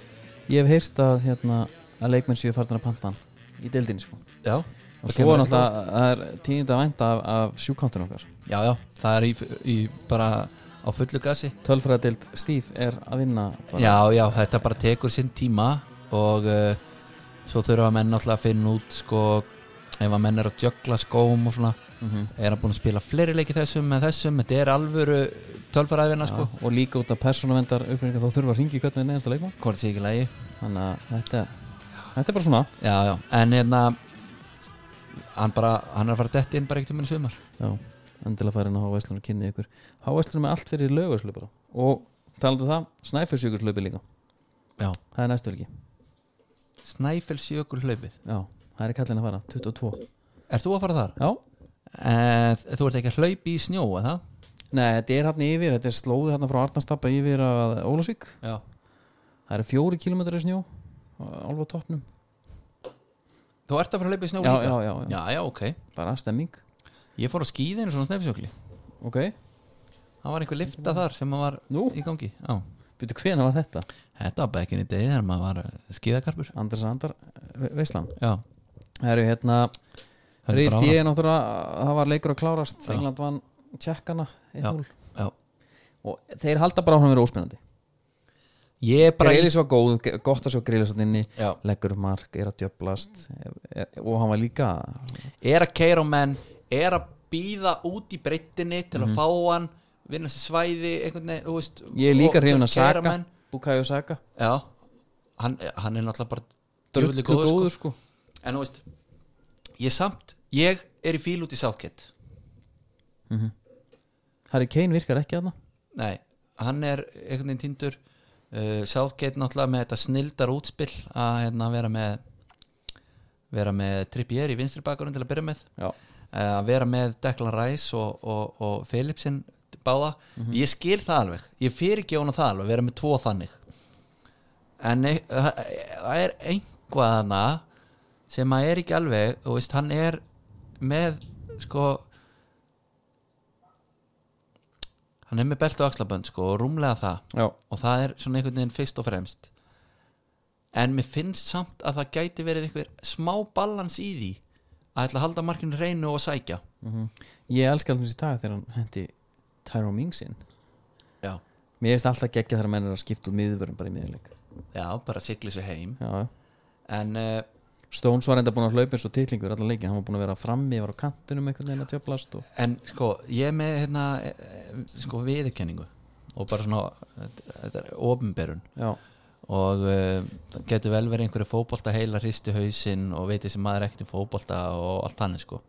Ég hef heyrt að, hérna, að leikmenn séu farnar að panta hann í deildinni sko já, Og svo Það kemur er náttúrulega það er tíðind að vænta af, af sjúkántin okkar já, já, það er í, í bara á fullu gasi Tölfræðadeild Steve er að vinna bara. já, já, þetta bara tekur sinn tíma og uh, svo þurfa menn náttúrulega að finna út sko, ef að menn er að jökla skóm og svona, Mhm. er hann búin að spila fleiri leiki þessum með þessum, þetta er alvöru tölfaræðina, sko, Já, Og líka út af persónavendar uppbyrninga þá þurfa að ringi hvernig neðansta leikmann hvort sé ekki lagi Þannig að þetta, þetta er bara svona já, já, en hérna hann bara, hann er að fara dett inn bara ekkert um enn sumar Já, endilega farin á Hávæslunum og kynni ykkur Hávæslunum er allt fyrir lögurslu bara og talandi um það, snæfjörsjökurslaupi líka já, það er næstu velki, Snæfellsjökul hlaupið já, það er kallin að fara 22, Er þú að fara þar? já Eh, þú ert ekki að hlaupi í snjó, eða? Nei, þetta er hérna yfir, þetta er slóðið hérna frá Arnastappa yfir að Ólasvík Já það eru fjóri kilometrar í snjó alveg á toppnum, Þú ert að fara að hlaupi í snjó já, líka? já, já, já, já, ok bara stemming Ég fór á skíðinu svona Snæfellsjökli Ok, Það var einhver lifta þar sem maður nú, var í gangi Já byrju hvena var þetta? Þetta var bekkin í degi þegar maður var skíðakarpur Andres Andar, ve- veislan Já Það eru hérna, Þetta reyðist bara- ég náttúrulega það var leikur að klárast, Já. England vann tjekkana, 1-0 já. og þeir halda bara áfram að vera óspennandi Ég er bara Greilis var góð, ge- gott að sjá Greilis hann inni Já leggur upp mark, er að djöblast er- er- og hann var líka er að keira á menn er að býða út í breyttinni til að fá hann vinna sér svæði einhvern veginn, þú veist Mhm. ég er líka og- hrifin að keyra Saka, menn. Bukayo Saka já, hann, hann er náttúrulega bara drullu djöfulli góður, góður sko. sko. en þú veist, ég samt ég er í fíl út í Southgate Harry Kane virkar ekki aðna nei, hann er einhvern veginn tindur uh, Southgate náttúrulega með þetta snildar útspill að hérna, vera með vera með Trippier í vinstri bakarinn til að byrja með já. Eh, að vera með Declan Rice og, og, og Philipsin báða ég skil það alveg, ég fyrir ekki hona það alveg vera með tvo þannig en e- það það er einhvað hana sem að er ekki alveg og veist, hann er með sko hann er með belt og axlabönd sko og rúmlega það Já. og það er svona einhvern veginn fyrst og fremst en mér finnst samt að það gæti verið einhver smá balans í því að ætla að halda markinu reynu og sækja Mhm. ég elska alltaf þessi dag þegar hann hendi Tyrone Mings inn já, mér finnst alltaf geggja þegar menn er að skipta úr miðvörum bara í miðurleik já bara sigli sig heim já, en uh, Stones var enda búin að hlaupa eins og titlingur allan leikin, hann var búin að vera frammi var á kantinum einhvern veginn að tjöplast og en sko ég er með hérna eh, eh, sko viðurkenningu og bara svona þetta- þetta er ofinberun já, og uh, það getur vel verið einhverju fótbolta heila hristi hausinn og veit þessi maður ekkert um fótbolta og allt hann sko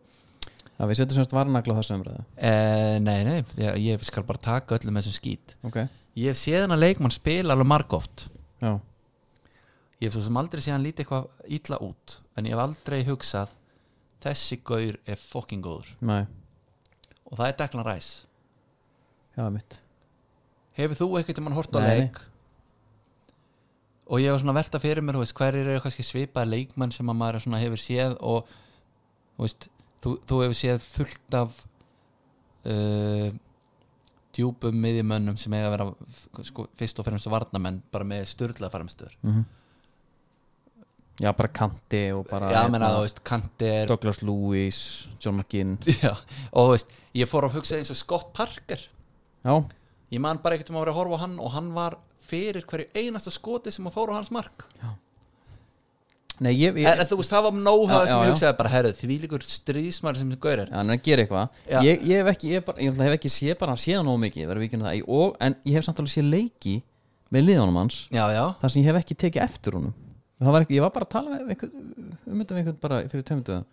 að við setjum semst varnagla á þessu umræðu eh, nei nei, ég, ég skal bara taka öllum þessum skít ok, ég hef séð hann að leikmann spila alveg margóft já, ég hef svo sem aldrei séð hann lítið eitthvað illa út en ég hef aldrei hugsað þessi gaur er fucking góður næ, og það er Declan Rice já, mitt hefur þú ekkert um hann hort á Nei. leik og ég var svona að velta fyrir mér þú veist, hverjir eru kannski svipaði leikmenn sem að maður svona hefur séð og þú, veist, þú, þú hefur séð fullt af uh, djúpum miðjumönnum sem eiga að vera f- sko, fyrst og fremst varnamenn bara með styrla framstöður mm já, bara kanti og bara Já, hérna, menna, þú veist, Kanti er Douglas Lewis, John McGinn (laughs) Já, og þú veist, ég fór að hugsa eins og Scott Parker já, ég man bara ekkert um að vera að horfa á hann og hann var fyrir hverju einasta skoti sem að fóra á hans mark nei, ég, ég en, en þú veist, það var nóhað Já, sem já, ég já. hugsaði bara, herru, því líkur stríðismar sem gaur er Já, hann er að gera eitthvað Já. ég, ég hef ekki, ég, bara, ég náttúrulega hef ekki séð bara hann séð hann ómikið, verður vikinu það í- og, en ég hef samtalið séð leiki með liðanum hans Já, já, þar sem ég hef ekki tekið eftir honum Það var ekki, ég var bara að tala við einhvern, um þetta við einhvern bara fyrir tömduðan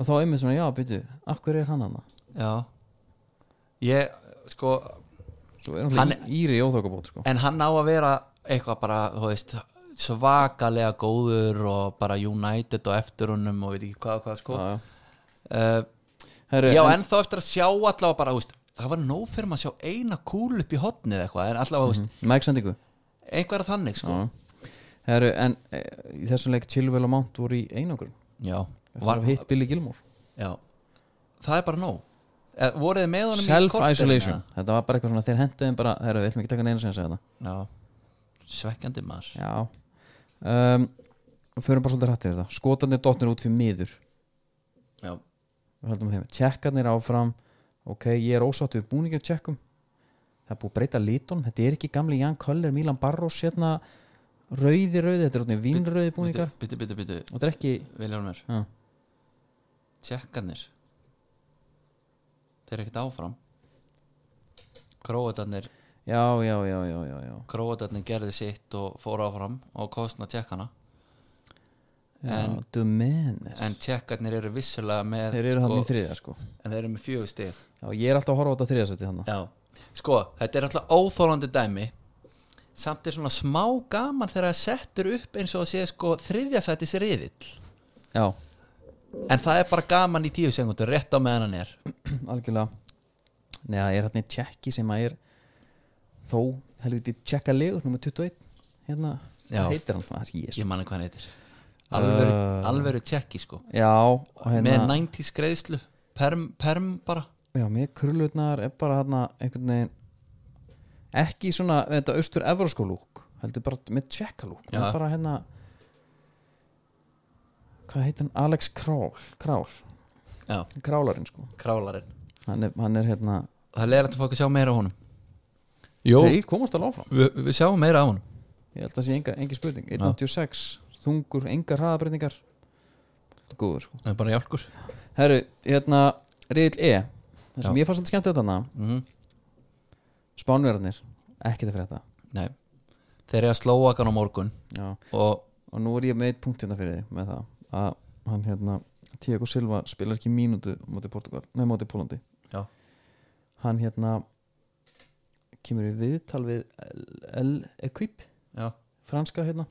og þá einmitt svona, já, byrju, akkur er hann hann já Ég, sko, svo er hann Hann- íri í óþokkabót sko. en hann á að vera eitthvað bara, þú veist svakalega góður og bara United og eftir honum og veit ekki hvað, og hvað sko Eh, Já, uh, já. Herru, Já, en þá eftir að sjá allavega bara, þú veist það var nóg fyrir maður að sjá eina kúl upp í hotnið eitthvað, en allavega, þú veist, Mike sendingu Mhm. einhverja þannig, sko Já. Herru, en e, í þessum leik Chilwell og Mount voru í einangur Já, var var, hitt Billy Gilmore já. það er bara nóg Eh, Voruð þið með honum í korterinu, Self-isolation, þetta var bara eitthvað svona þeir henduðum bara, herru, við ætlum ekki að taka neina sem að segja þetta eða? Já, svekkjandi maður Já um, Förum bara svolítið hrættið þetta Skotarnir dotnir út fyrir miður Já, Við höldum þeim Tjekkarnir áfram Ok, ég er ósátt við búningum tjekkum Það er búið að breyta litunum Þetta er ekki gamli Jan Köller, Milan Barros hérna, Rauði, rauði, þetta er orðnir vínrauði búningar Byttu, byttu, byttu, Og þetta er ekki Viljónur Já. Tjekkanir Þeir eru ekkert áfram Króatarnir Já, já, já, já, já, já. Króatarnir gerði sitt og fóru áfram og kostna tjekkana já En- Dumenir en tjekkarnir eru vissulega með Þeir eru hann í þriðja sko en þeir eru með fjögur stig Já, ég er alltaf að horfa á þetta þriðasetti hann Já, sko, þetta er alltaf óþólandi dæmi samt er svona smá gaman þegar það settur upp eins og að sé sko þriðjasætis riðill Já, (clears throat) en það er bara gaman í tíu segundur rétt á meðan hann er algjörlega Nei, það er hann í tjekki sem að er þó helviti tjekka legur nummer 21 hérna, Já. hvað heitir hann Maður, Jesus. ég manna hvað hann heitir alveru, Uh. alveru tjekki sko Já, og með hérna 90s greiðslu perm, perm bara Já, með krullunar er bara hérna einhvern veginn ekki svona, þetta austur evrósku lúk heldur bara með tjekka lúk Já. bara hérna hvað heitir hann, Alex Král Král, já, Králarinn sko králarinn hann er, hann er hérna, það er leiðrætt að fá ekki að sjá meira á honum Jó, þeir komast alveg áfram við, við sjáum meira á honum Ég held að það sé enga, engi spurning 186, þungur, engar hraðabreytingar Góður sko það er bara hjálkur Herru, hérna, Riðil E Það sem Já. ég fannst svolítið skemmt þetta hana mm Spánverðarnir, ekkert að frétta Nei, þeir eru að slóa á morgun Já, og og nú er ég með eitt punkt hérna fyrir þig með það að hann hérna Tiago Silva spilar ekki mínútu á móti Portugal, nei, á móti Pólandi Já. Hann hérna kemur í viðtal við El Equip, já, franska hérna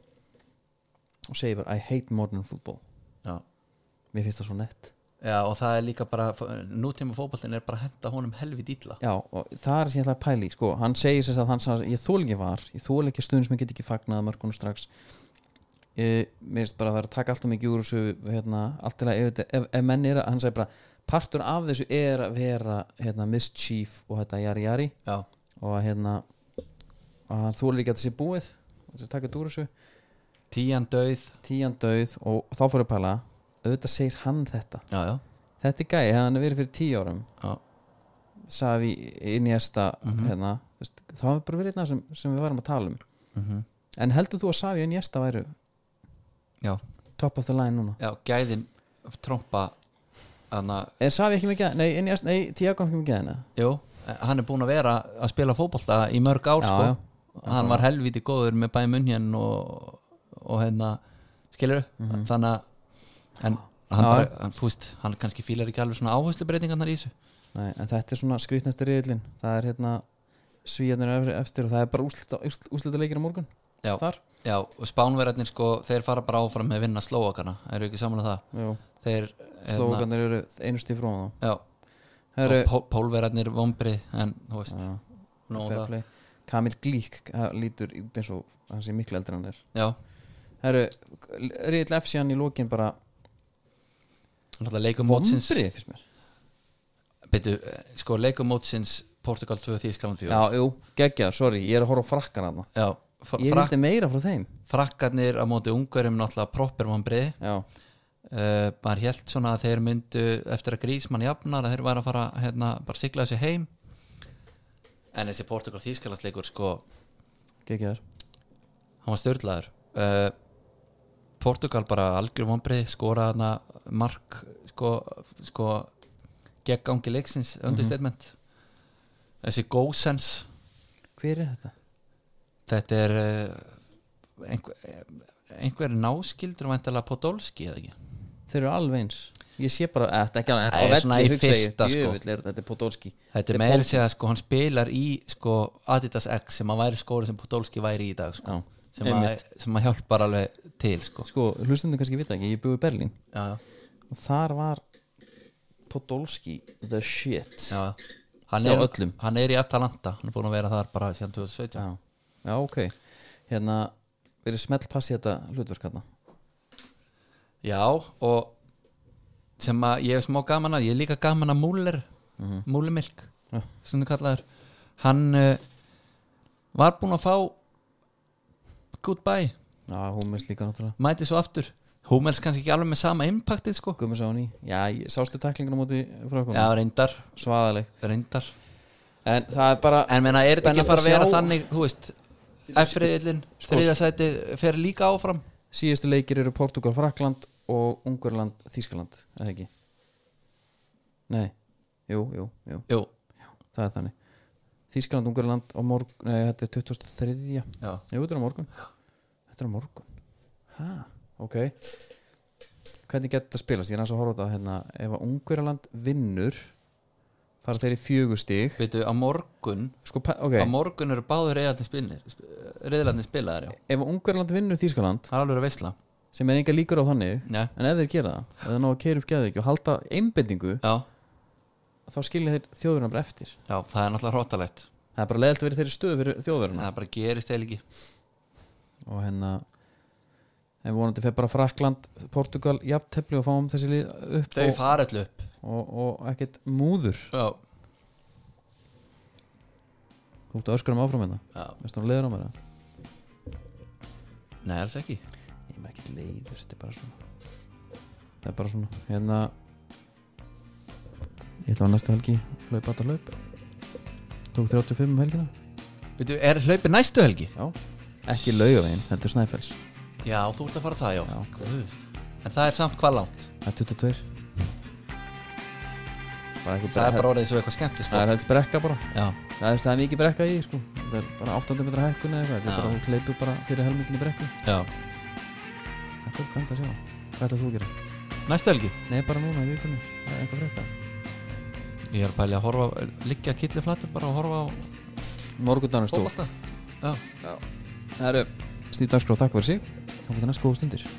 og segir bara I hate modern football já Mér finnst það svo nett Já, og það er líka bara, nútíma fótboltin er bara að henda honum helvit illa Já, og það er sem ég ætla að pæli sko. hann segir sem sagt að hann sagði ég þól ekki var ég þól ekki stund sem ég get ekki fagnað mörgunum strax ég, mér finnst bara að vera að taka alltaf mikið úr þessu hérna, allt til að ef, þetta- ef, ef menn er að hann segir bara partur af þessu er að vera hérna, mischief og þetta jari jari Já, og að hérna að hann þól ekki að þessi búið og þessi taka þetta úr þessu tíjan döið tíjan döið og þá fór ég að pæla auðvitað segir hann þetta Já, já, þetta er gæi, hefði hann verið fyrir tíu árum já, Savi Iniesta Mhm. hérna, þú veist, þá hefur bara verið einna sem, sem við varum að tala um mm en heldur þú að Savi Iniesta væru já top of the line núna já, gæðin trompa hana, er Savi ekki með geðina? Nei, Iniesta- nei Tiago ekki með geðina jú, hann er búin að vera að spila fótbolta í mörg ár Já, sko. já. hann var helviti góður með bæði munnjön og, og hérna skilur, þannig að en hann Mhm. Já. bara, hann, þú veist hann kannski fílar ekki alveg svona áherslu breytingarnar í þessu Nei, en þetta er svona skrýtnasti riðlinn það er hérna svíjarnir efri- eftir og það er bara úslita, úslita, úslita leikir á morgun Já. þar já, og spánverðarnir sko, þeir fara bara áfram með að vinna slóakana, eru ekki saman að það Jú, þeir, hérna, slókanir eru einu stíð frá þá já, Það eru- og pól, pólverðarnir vombri, en þú veist Já, nóg um fair það, play. Kamil Glík það lítur út eins og hann sé miklu eldri en hann er já Það eru riðl F-sjan í lokin bara Náttúrulega leikum mótsins vombrið fyrst mér Beidu, sko, leikum mótsins Portugal 2 Þískaland 4 Já, jú, geggjaður, sorry, ég er að horfa á frakkan hann já fr Ég frak vildi meira frá þeim frakkarnir á móti ungarum náttúrulega proper vombrið Já, uh, maður held svona að þeir myndu eftir að grísmann jafnar að þeir væri að fara hérna, bara sigla þessu heim en þessi Portugal þýskalandsleikur sko, geggjaður hann var störlaður uh, Portugal bara algjör vonbrið skora hana mark sko, sko gegn gangi leiksins Mhm. understatement þessi gósens Hver er þetta? þetta er uh, einhver, eh, einhver náskildur væntalega Podolski eða ekki Þeir eru alveg eins Ég sé bara, eh, þetta er ekki alveg Það á er svona velli í hugsa ég, fyrsta, sko. djöfull er Þetta er Podolski Þetta Þetta er er með að segja sko, hann spilar í sko, Adidas X sem að væri skóri sem Podolski væri í dag sko, Já, sem, að, sem að hjálpar alveg til sko. sko, hlustundu kannski vita ekki, ég búi í Berlín já, og þar var Podolski the shit já. Hann, Hjá er, öllum. hann er í Atalanta hann er búin að vera þar bara síðan 2017 já, já, ok hérna, verið smellpass í þetta hlutverk hérna Já, og sem að ég er smá gaman að ég er líka gaman að Múller mm -hmm. Múlumilk, Mhm. Já. sem þið kallaður hann uh, var búin að fá goodbye, já, Húmes líka náttúrulega, mæti svo aftur Húmels kannski ekki alveg með sama impactið sko Guðmur sá hann í já, ég- sástu tæklinguna á móti frá okkur Já, reyndar, svaðaleg, reyndar en það er bara En meina, er þetta Spennandi ekki að fara að vera að sjá. þannig, þú veist F-riðilinn, Sko- þriðasæti fer líka áfram síðustu leikir eru Portugal, Frakland og Ungurland, Þískaland eða ekki nei, jú, jú, jú Jú, það er þannig Þískaland, Ungurland og morgun, nei, þetta er 2003 já, Jú, þetta er á morgun Þetta er á morgun Hæ, ok Hvernig getur þetta spilast? Ég er aðeins að horfa á þetta hérna Ef að Ungverjaland vinnur fara þeir í fjögustig veitu, á morgun Sko, pa- ok, Á morgun eru báður reyðarnir spilir Reyðarnir spilaðar, já ef að Ungverjaland vinnur Þískaland Það er alveg að veisla sem er enga líkur á þannig Já, en ef þeir gera það, ef þeir ná að keira upp geðið og halda einbendingu, já, þá skilja þeir þjóðverðina bara eftir já, það er náttúrulega hrótalegt Það er bara leðilt að vera í þeirri stöðu fyrir þjóðverðina Það bara gerist eða ekki og hérna en vonandi fer bara Frakland, Portugal jafntefli og fáum þessi lið upp Þau og, fara allu upp og, og ekkert múður Já, Þú ert að öskra um áfram hérna já, Mér stóðum leiður á mér það nei, alls ekki Ég er ekki leiður, þetta er bara svona Það er bara svona Hérna Ég ætla á næsta helgi Hlaup alltaf hlaup Tók 35 um helgina Veitu, er hlaupið næstu helgi? Já Ekki laugavegin, heldur Snæfells Já, þú ert að fara það, já, Já. Guð. En það er samt hvað langt Það er 22 bara ekki Það er bara orðið svo eitthvað skemmti, sko Það er helst brekka bara Já, Það er, það er mikið brekka í því, sko Það er bara 800 metra hækkun eða eitthvað Þetta Já. er bara hún hleypur bara fyrir helminginni brekku já Þetta er stend að sjá Hvað ætlar þú að gera? Næstu helgi? Nei, bara núna í vikunni Það er eitthvað frétta Ég er pæli að horfa, liggja kittli flatur bara að horfa á Morgundanum stór fótballta Já Það eru Stíf Dagskrá, takk fyrir sig Þá fyrir næst góða stundir